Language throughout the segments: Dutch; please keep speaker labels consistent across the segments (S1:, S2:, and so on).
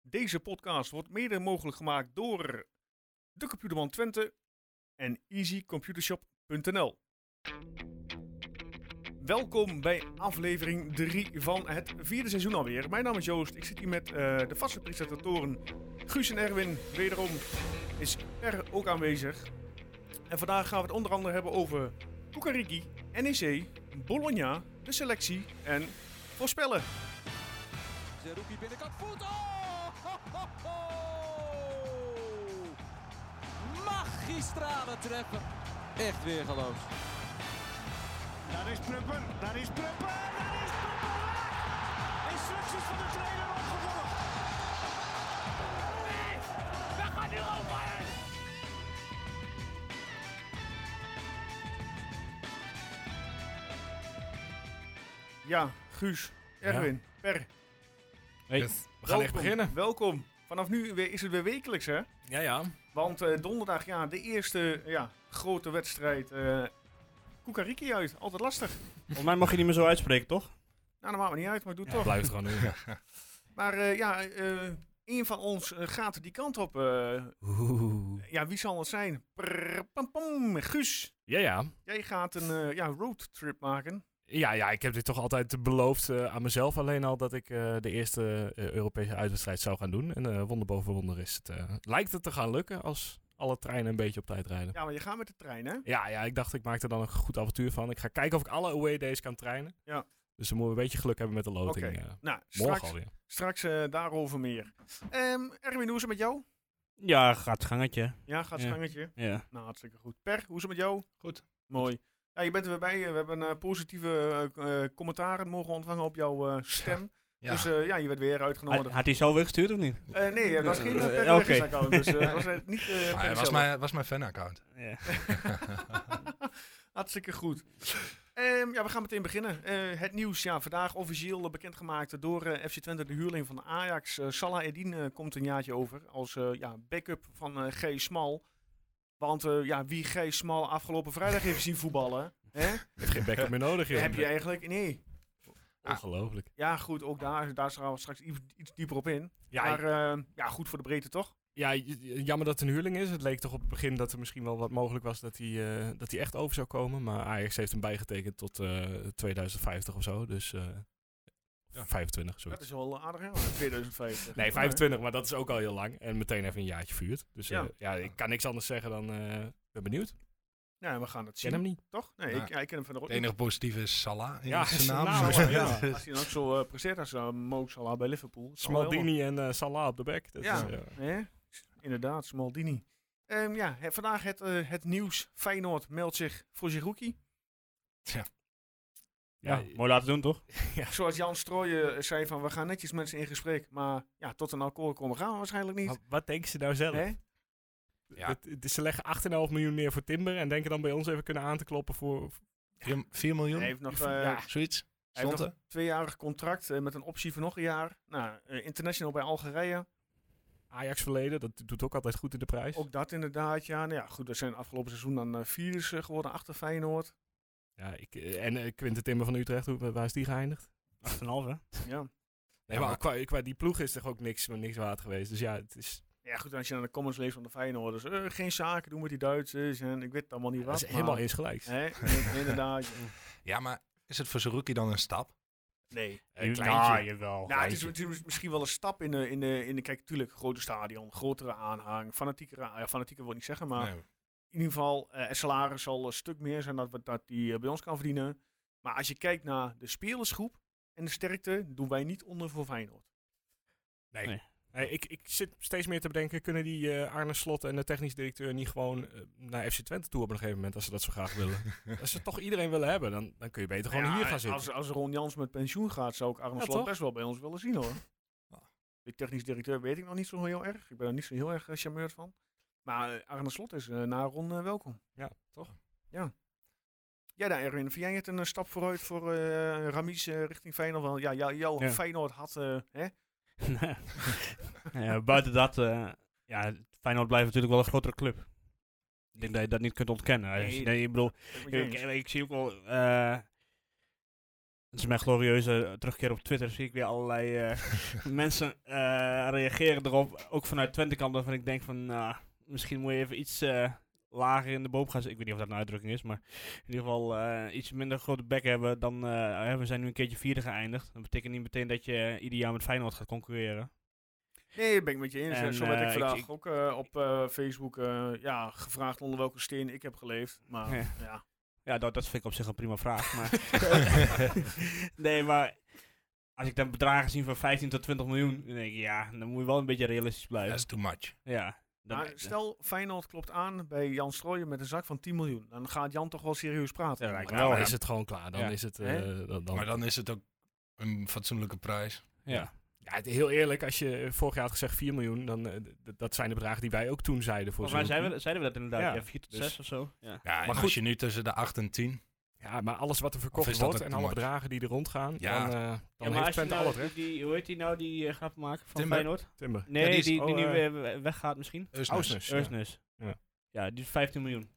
S1: Deze podcast wordt mede mogelijk gemaakt door de Computerman Twente en easycomputershop.nl. Welkom bij aflevering 3 van het vierde seizoen alweer. Mijn naam is Joost. Ik zit hier met eh, de vaste presentatoren Guus en Erwin. Wederom is Per ook aanwezig. En vandaag gaan we het onder andere hebben over Kukariki, NEC, Bologna, de selectie en voorspellen.
S2: Zerouki binnenkant voet. Oh! Ho, ho, ho! Magistrale treppen. Echt weer geloof.
S3: Daar is Prupper, daar is Prupper, daar is Prupper weg! Instructies van de trainer opgevolgd. We gaan nu over!
S1: Ja, Guus, Erwin, Per.
S4: Hey,
S5: Dus
S4: we gaan echt
S1: welkom,
S4: beginnen.
S1: Welkom. Vanaf nu weer- is het weer wekelijks, hè?
S4: Ja, ja.
S1: Want eh, donderdag, ja, de eerste ja, grote wedstrijd. eh Kukariki uit, altijd lastig.
S6: Volgens mij mag je niet meer zo uitspreken, toch?
S1: Nou, dat maakt me niet uit, maar doe het
S4: Blijf
S5: Oh.
S1: toch.
S4: het gewoon doen.
S1: Maar eh, ja, eh een van ons eh, gaat die kant op. eh. ja, wie zal het zijn? Prrr, pam, pam. Guus,
S4: Ja, ja.
S1: jij gaat een eh, ja, roadtrip maken.
S4: Ja, ja, ik heb dit toch altijd beloofd eh, aan mezelf alleen al dat ik eh, de eerste eh, Europese uitwedstrijd zou gaan doen. En eh wonder boven wonder is het, eh, lijkt het te gaan lukken als alle treinen een beetje op tijd rijden.
S1: Ja, maar je gaat met de trein, hè? Nou,
S4: Ja, ja, ik dacht ik maak er dan een goed avontuur van. Ik ga kijken of ik alle away days kan treinen.
S1: Ja.
S4: Dus dan moeten we een beetje geluk hebben met de loting.
S1: Oké.
S4: eh,
S1: Nou,
S4: morgen
S1: straks,
S4: alweer.
S1: straks eh, daarover meer. Ehm, Erwin, hoe is het met jou?
S6: Ja, gaat het gangetje.
S1: Ja, gaat het
S6: Ja.
S1: gangetje.
S6: Ja.
S1: Nou, hartstikke goed. Per, hoe is het met jou?
S5: Goed.
S1: Mooi. Ja, je bent er weer bij. We hebben eh, positieve eh, eh, commentaren mogen ontvangen op jouw eh, stem.
S5: Ja.
S1: Dus eh, ja, je werd weer
S6: Had,
S1: uitgenodigd.
S6: had hij zo weggestuurd of niet?
S1: Eh, nee, dat was geen uh,
S6: Ah, Eh, oké.
S1: account Dus eh, was het niet... eh,
S5: Ah,
S1: per
S5: ja, was,
S1: zelf.
S5: mijn, was mijn fanaccount.
S6: Ja.
S1: Hartstikke goed. Ehm, ja, we gaan meteen beginnen. Eh, het nieuws, ja, vandaag officieel eh, bekendgemaakt door eh, FC Twente, de huurling van Ajax. Eh, Salah Eddin eh, komt een jaartje over als eh, ja, backup van eh, G. Smal. Want eh, ja, wie G. Smal afgelopen vrijdag heeft zien voetballen, hè,
S4: Je hebt geen backup meer nodig, joh.
S1: heb je eigenlijk... Nee.
S4: Ongelooflijk.
S1: Ja, goed, ook daar, daar gaan we straks iets, iets dieper op in.
S4: Ja,
S1: maar eh, ja, goed voor de breedte, toch?
S4: Ja, j- j- jammer dat het een huurling is. Het leek toch op het begin dat er misschien wel wat mogelijk was dat hij, eh, dat hij echt over zou komen. Maar Ajax heeft hem bijgetekend tot eh, 2050 of zo. Dus eh,
S5: Ja.
S4: 25, sorry.
S1: Dat is wel eh, aardig, hè? 2050.
S4: Nee, 25, maar dat is ook al heel lang. En meteen even een jaartje vuurt. Dus eh,
S1: Ja.
S4: ja. ik kan niks anders zeggen dan, eh ben benieuwd. Ik
S1: Nee, we gaan het
S4: ken
S1: zien,
S4: hem niet.
S1: toch? Nee,
S5: Ja.
S1: ik, ja, ik ken hem van de
S5: Het enige positieve is Salah in
S4: Ja,
S5: zijn naam.
S4: Salah,
S1: Nou,
S4: Salah,
S1: ja.
S4: ja.
S1: Als hij dan ook zo eh presteert als uh, Mo Salah bij Liverpool. dat zal wel
S4: Smaldini en eh, Salah op de bek. Dat
S1: Ja.
S4: is, eh,
S1: helemaal- Hè? Inderdaad, Smaldini. Ehm, ja, hè, vandaag het, eh, het nieuws. Feyenoord meldt zich voor Zerouki.
S4: ja,
S6: Ja, mooi laten doen, toch?
S1: Zoals Jan Strooijen eh, zei van, we gaan netjes mensen in gesprek. Maar ja, tot een akkoord komen gaan we waarschijnlijk niet.
S4: Wat, wat denken ze nou zelf?
S1: Hè?
S5: Ja.
S4: Dat- het- ze leggen 8,5 miljoen neer voor Timber en denken dan bij ons even kunnen aan te kloppen voor...
S5: 4 miljoen,
S1: Hij heeft nog, eh,
S4: Ja.
S5: zoiets.
S1: hij heeft
S5: Stond
S1: nog
S5: er.
S1: een tweejarig contract eh, met een optie voor nog een jaar. Nou, eh, international bij Algerije.
S4: Ajax verleden, dat doet ook altijd goed in de prijs.
S1: Ook dat inderdaad, ja. Nou ja, goed, dat zijn afgelopen seizoen dan eh vierders eh, geworden achter Feyenoord.
S4: Ja, ik, eh, en eh, Quinten Timmer van Utrecht, hoe, waar is die geëindigd?
S6: 8,5 hè?
S1: Ja.
S4: Nee, maar qua, qua die ploeg is toch ook niks, niks waard geweest. Dus ja, het is,
S1: Ja, goed, als je naar de comments leest van de Feyenoorders. eh, geen zaken doen met die Duitsers en ik weet het allemaal niet
S4: dat
S1: wat.
S4: is helemaal
S1: maar-
S4: insgelijks.
S1: Hè, in- inderdaad.
S5: Ja, maar is het voor Zerouki dan een stap?
S1: Nee.
S4: Een
S6: Ja,
S4: kleintje.
S6: jawel.
S1: Nou, het is, het is misschien wel een stap in de, in de, in de kijk, tuurlijk, grote stadion, grotere aanhang, fanatiekere, aan- ja, fanatieker wil ik niet zeggen, maar
S5: Nee.
S1: in ieder geval, eh, het salaris zal een stuk meer zijn dan dat, dat die eh, bij ons kan verdienen. Maar als je kijkt naar de spelersgroep en de sterkte, doen wij niet onder voor Feyenoord.
S4: Nee.
S6: Nee.
S4: Nee, ik, ik zit steeds meer te bedenken, kunnen die eh, Arne Slot en de technisch directeur niet gewoon eh, naar FC Twente toe op een gegeven moment, als ze dat zo graag willen? als ze toch iedereen willen hebben, dan, dan kun je beter gewoon
S1: Nou ja,
S4: hier gaan zitten.
S1: Als, als Ron Jans met pensioen gaat, zou ik Arne
S4: Ja,
S1: Slot
S4: toch?
S1: best wel bij ons willen zien hoor.
S5: Ja.
S1: Die technisch directeur weet ik nog niet zo heel erg. Ik ben er niet zo heel erg eh, charmeerd van. Maar eh, Arne Slot is eh, na Ron eh, welkom.
S4: Ja, toch?
S1: Ja. Ja, daar Erwin, vind jij het een eh, stap vooruit voor eh Ramis eh, richting Feyenoord? Want ja, jou- jouw
S6: Ja.
S1: Feyenoord had... eh, hè?
S6: ja, buiten dat, eh, ja, Feyenoord blijft natuurlijk wel een grotere club. Ik denk dat je dat niet kunt ontkennen.
S1: Nee,
S6: Dus,
S1: dat-
S6: nee, ik bedoel,
S1: Dat moet je
S6: ik,
S1: eens.
S6: ik zie ook wel... eh, Dat is mijn glorieuze terugkeer op Twitter. Zie ik weer allerlei eh, mensen eh, reageren erop. Ook vanuit Twente kant. Waarvan ik denk van, nou, misschien moet je even iets eh, lager in de boom gaan zitten. Ik weet niet of dat een uitdrukking is. Maar in ieder geval eh, iets minder grote bek hebben. Dan, eh, hè, we zijn nu een keertje vierde geëindigd. Dat betekent niet meteen dat je eh, ieder jaar met Feyenoord gaat concurreren.
S1: Nee, ben ik met je eens.
S6: En,
S1: Zo werd
S6: eh,
S1: ik
S6: ik-
S1: vandaag
S6: ik-
S1: ook eh, op eh, Facebook eh, ja, gevraagd onder welke steen ik heb geleefd. Maar
S6: Ja.
S1: ja.
S6: Ja, dat, dat vind ik op zich een prima vraag. Maar nee, maar als ik dan bedragen zie van 15 tot 20 miljoen. Dan denk ik, ja, dan moet je wel een beetje realistisch blijven.
S5: That's too much.
S6: Ja. dan-
S1: Maar stel, Feyenoord klopt aan bij Jan Strooijen met een zak van 10 miljoen. Dan gaat Jan toch wel serieus praten.
S6: Ja, lijkt me
S4: Dan
S6: wel,
S5: ja.
S4: is het gewoon klaar. Dan
S6: Ja.
S4: is het... eh,
S1: Hè?
S4: dan, dan-
S5: Maar dan is het ook een fatsoenlijke prijs.
S6: ja.
S4: Ja, het- heel eerlijk, als je eh, vorig jaar had gezegd 4 miljoen, dan, eh, d- dat zijn de bedragen die wij ook toen zeiden voor
S6: Volgens mij zeiden we,
S4: Zerouki.
S6: zeiden we dat inderdaad.
S4: Ja,
S6: Ja, 4 tot
S4: dus-
S6: 6 of zo. Ja.
S5: Ja, maar
S4: Maar
S5: als
S4: goed.
S5: je nu tussen de 8 en 10...
S4: Ja, maar alles wat er
S5: Of
S4: verkocht
S5: is dat
S4: wordt
S5: ook
S4: en
S5: te
S4: alle
S5: much?
S4: bedragen die er rondgaan,
S5: Ja.
S4: dan, eh dan
S6: maar
S4: heeft
S6: als je
S4: Twente alle
S6: nou,
S4: recht.
S6: die, die- hoe heet die nou die eh, grap maken van
S5: Timber.
S6: Feyenoord?
S4: Timber.
S6: Nee,
S5: die
S6: die,
S5: is-
S6: die,
S4: oh,
S6: nu
S4: eh,
S6: weer we- weggaat misschien.
S5: Eusnes.
S4: Ausnes. Ja.
S6: Eusnes.
S4: Ja.
S6: Ja. die is 15 miljoen.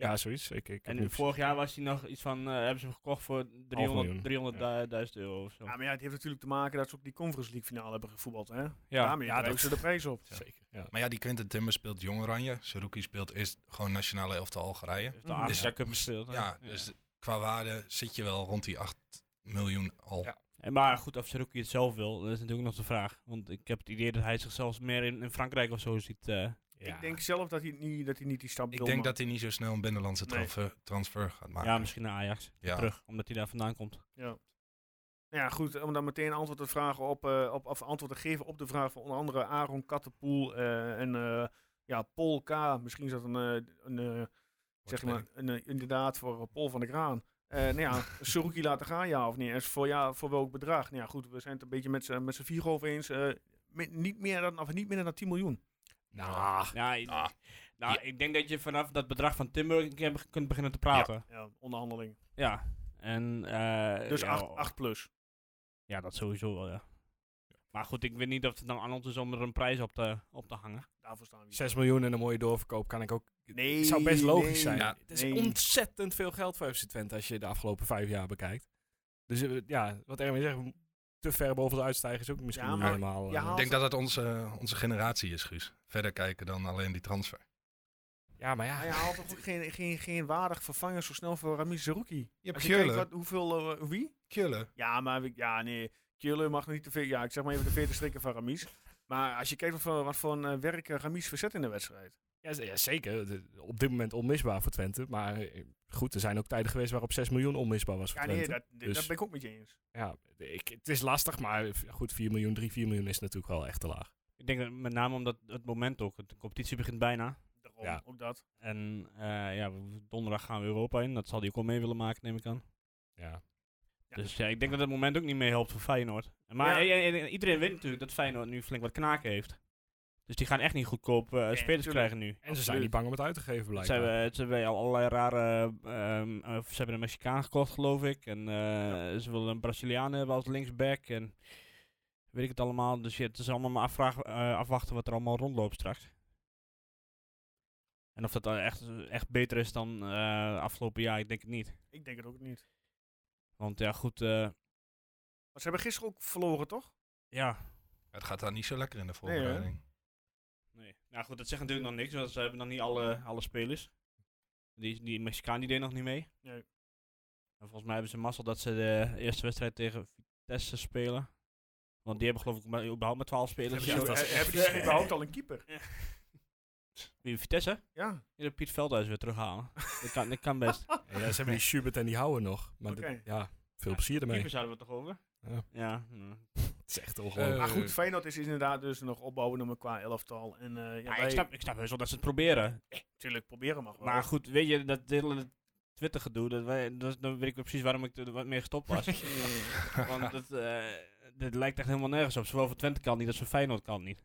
S4: ja, zoiets. Ik, ik heb nu
S6: En vorig jaar was hij nog iets van, eh, hebben ze hem gekocht voor 300
S4: miljoen.
S6: 300.000 euro of zo.
S1: Ja, maar ja, het heeft natuurlijk te maken dat ze ook die Conference League finale hebben gevoetbald. Hè?
S6: Ja,
S1: Daarmee
S4: ja,
S1: ja,
S4: dat-
S1: ze de prijs op.
S4: Zeker, ja.
S5: Maar ja, die Quinten Timmer speelt Jong Oranje. Saruki speelt eerst gewoon nationale elftal Algerije.
S6: heeft de
S1: Mhm.
S6: Afrika
S5: Dus-
S6: Cup gespeeld. hè?
S5: Ja, dus qua waarde zit je wel rond die 8 miljoen al.
S4: Ja.
S6: En maar goed, of Saruki het zelf wil, dat is natuurlijk nog de vraag. Want ik heb het idee dat hij zichzelf meer in, in Frankrijk of zo ziet. eh.
S1: Ik denk zelf dat hij niet, dat hij niet die stap
S5: Ik
S1: wil
S5: denk
S1: maken.
S5: dat hij niet zo snel een binnenlandse
S1: Nee.
S5: transfer, transfer gaat maken.
S6: ja, misschien naar Ajax.
S5: Ja.
S6: Terug, omdat hij daar vandaan komt.
S1: Nou Ja, goed, om dan meteen antwoord te vragen op, eh, op, of antwoord te geven op de vraag van onder andere Aaron Kattenpoel eh, en eh, ja, Paul K. Misschien is dat een, eh, een eh, zeg maar, een, eh, inderdaad voor eh, Paul van der Kraan. Eh nou ja, Suruki laten gaan, ja of nee? En voor, ja, voor welk bedrag? Nou ja, goed, we zijn het een beetje met z'n met z'n vier over eens. eh, mi- niet, meer dan, of niet minder dan 10 miljoen.
S4: Nou,
S6: Ja, ik-
S5: Ah.
S6: nou,
S5: Ja.
S6: ik denk dat je vanaf dat bedrag van Timber een keer be- kunt beginnen te praten.
S1: Ja, onderhandeling.
S6: Ja. En, eh,
S1: Dus
S6: ja,
S1: 8 plus.
S6: Ja, dat sowieso wel, ja. Maar goed, ik weet niet of het nou aan ons is om er een prijs op te, op te hangen.
S1: Daarvoor staan we hier.
S4: 6 miljoen en een mooie doorverkoop kan ik ook...
S1: Nee,
S4: Het zou best logisch
S1: nee,
S4: zijn.
S5: Ja.
S4: Het is
S1: nee.
S4: ontzettend veel geld voor FC Twente als je de afgelopen vijf jaar bekijkt. Dus eh, ja, wat Erwin zegt, te ver boven de uitstijger is ook misschien
S1: Ja,
S4: niet
S1: maar
S4: helemaal...
S1: je
S4: eh,
S1: haalt-
S5: Ik denk dat het onze, onze generatie is, Guus. Verder kijken dan alleen die transfer.
S4: ja, maar ja.
S1: Maar je haalt toch ook geen, geen, geen waardig vervanger zo snel voor Rami Zerouki.
S5: Je hebt
S1: Als je kijkt
S5: Keulen.
S1: wat, hoeveel, eh, wie?
S5: Keulen.
S1: Ja, maar we- ja, nee. Keulen mag nog niet te veel. Ja, ik zeg maar even de veertig strikken van Ramis. Maar als je kijkt wat voor, wat voor een, eh, werk eh, Ramis verzet in de wedstrijd.
S4: Ja, z- ja, zeker. De- op dit moment onmisbaar voor Twente. Maar eh, goed, er zijn ook tijden geweest waarop 6 miljoen onmisbaar was voor
S1: Ja, nee,
S4: Twente.
S1: dat,
S4: Dus-
S1: dat ben ik ook met je eens.
S4: Ja, ik, het is lastig, maar v- goed, 4 miljoen, 3, 4 miljoen is natuurlijk wel echt te laag.
S6: Ik denk dat met name omdat het moment ook, de competitie begint bijna.
S1: Daarom,
S4: Ja.
S1: ook dat.
S6: En eh, ja, we- donderdag gaan we Europa in. Dat zal hij ook wel mee willen maken, neem ik aan.
S4: Ja.
S1: Ja.
S6: Dus ja, ik denk dat het moment ook niet mee helpt voor Feyenoord. Maar eh,
S1: Ja.
S6: i- i- i- iedereen weet natuurlijk dat Feyenoord nu flink wat knaken heeft. Dus die gaan echt niet goedkoop eh, spelers
S1: tuurlijk.
S6: krijgen nu.
S4: En ze zijn niet bang om het uit te geven,
S6: Ze
S4: blijkbaar.
S6: hebben, eh, ze hebben al allerlei rare. ehm, eh, ze hebben een Mexicaan gekocht, geloof ik. En eh, ze willen een Braziliaan hebben als linksback. En weet ik het allemaal. Dus ja, het is allemaal maar afvraag, eh, afwachten wat er allemaal rondloopt straks. En of dat dan echt, echt beter is dan eh, afgelopen jaar, ik denk het niet.
S1: Ik denk het ook niet.
S6: Want ja, goed. eh,
S1: Maar ze hebben gisteren ook verloren, toch?
S6: ja.
S5: Het gaat daar niet zo lekker in de
S1: Nee, hè?
S5: voorbereiding.
S6: Nee. Nou goed, dat zegt natuurlijk nog niks, want ze hebben nog niet alle, alle spelers. Die, die Mexicaan die deed nog niet mee.
S1: Nee.
S6: En volgens mij hebben ze mazzel dat ze de eerste wedstrijd tegen Vitesse spelen. Want die hebben geloof ik maar überhaupt maar 12 spelers.
S1: Hebben die-
S6: Ja, dat
S1: eh,
S6: is-
S1: hebben die überhaupt al een keeper?
S6: Wie, Vitesse?
S1: Ja.
S6: Je de Piet Veldhuis weer terughalen. dat, kan, dat kan best.
S4: ja, ze hebben die Schubert en die Houwen nog. Maar
S1: Oké.
S4: dit- ja, veel plezier ermee.
S6: Keepers hadden we het toch over?
S4: Ja.
S6: Ja. nou.
S4: Het is echt ongelooflijk.
S1: maar
S5: Eh,
S1: goed, Feyenoord is inderdaad dus nog opbouwen nummer qua elftal. En eh, ja,
S6: Ja,
S1: wij
S6: ik, snap, ik snap heus wel dat ze het proberen.
S1: natuurlijk proberen mag wel.
S6: Maar goed, weet je, dat hele Twitter gedoe, dat, wij- dat, dan weet ik precies waarom ik er wat mee gestopt was. Want het, eh, dit lijkt echt helemaal nergens op. Zowel voor Twente kan niet als voor Feyenoord kan niet.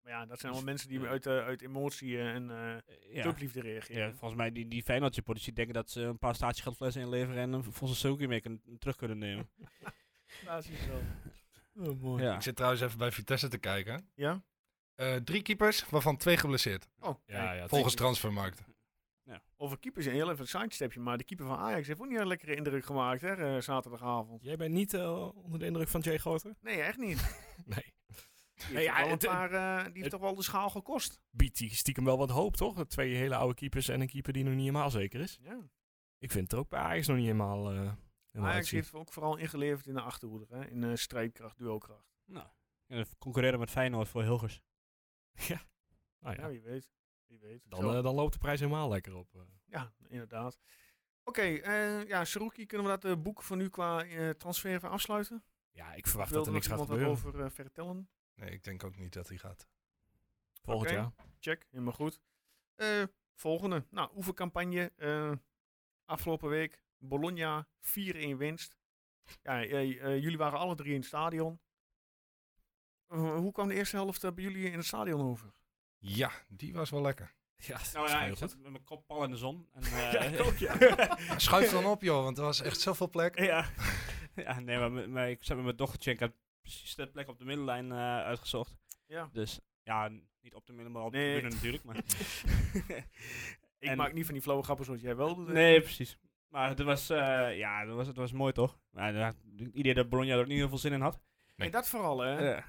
S1: maar ja, dat zijn allemaal mensen die uit, eh, uit emotie eh, en eh
S6: Eh, Ja.
S1: clubliefde
S6: Ja,
S1: reageren.
S6: volgens mij die, die Feyenoord supporters die denken dat ze een paar statiegeldflessen inleveren en een volse Suzuki mee kunnen- terug kunnen nemen.
S1: Ja, zie je wel.
S4: mooi.
S6: Ja.
S5: Ik zit trouwens even bij Vitesse te kijken.
S1: Ja?
S5: Eh, drie keepers, waarvan twee geblesseerd.
S1: Oh,
S4: Ja, ja, het-
S5: Volgens transfermarkt.
S1: Over keepers, heel even een sidestepje, maar de keeper van Ajax heeft ook niet een lekkere indruk gemaakt, hè, eh, zaterdagavond.
S4: Jij bent niet eh, onder de indruk van Jay Groter?
S1: Nee, echt niet.
S4: Nee.
S1: Die
S4: Nee,
S1: heeft, toch
S4: ja,
S1: wel een
S4: het-
S1: paar, eh, die heeft
S4: het-
S1: toch wel de schaal gekost.
S4: Biedt die stiekem wel wat hoop, toch? Twee hele oude keepers en een keeper die nog niet helemaal zeker is.
S1: Ja.
S4: Ik vind het er ook bij Ajax nog niet helemaal... eh helemaal
S1: Ajax
S4: uitzien.
S1: heeft ook vooral ingeleverd in de achterhoede, hè? in eh, strijdkracht, duelkracht.
S6: Nou, en we concurreren met Feyenoord voor Hilgers.
S4: Nou
S1: Ja,
S4: ja,
S1: wie weet. Wie weet.
S4: dan,
S1: Zo.
S4: eh, dan loopt de prijs helemaal lekker op. eh.
S1: Ja, inderdaad. Oké, eh, ja, Saruki, kunnen we dat eh, boek van nu qua eh, transfer even afsluiten?
S4: Ja, ik verwacht dat
S1: Wilde nog
S4: er niks gaat
S1: iemand
S4: gebeuren.
S1: wat over eh, vertellen?
S5: Nee, ik denk ook niet dat hij gaat.
S4: Volgend
S1: Oké.
S4: jaar.
S1: Check, helemaal goed. Eh, volgende, nou, oefencampagne. eh, afgelopen week, Bologna, 4-1 winst. Ja, eh, eh, jullie waren alle drie in het stadion. Eh, hoe kwam de eerste helft eh, bij jullie in het stadion over?
S5: Ja, die was wel lekker.
S4: Ja, dat
S6: Nou
S4: is
S6: ja,
S4: heel
S6: ik
S4: goed.
S6: zat met mijn kop pal in de zon. En, eh,
S5: Schuif dan op, joh, want er was echt zoveel plek.
S6: ja. ja, nee, maar, m- maar ik zat met mijn dochtertje en ik had precies de plek op de middenlijn eh, uitgezocht.
S1: Ja.
S6: Dus ja, n- niet op de middenlijn, maar op
S1: Nee.
S6: de tribune natuurlijk. Maar.
S1: Ik
S6: En-
S1: maak niet van die flauwe grappen zoals jij wel doet.
S6: nee, precies. Maar het was, eh, ja, het was, het was mooi toch? Maar ja, het idee dat Bologna er ook niet heel veel zin in had. Eh,
S1: En dat vooral, hè?
S6: Ja.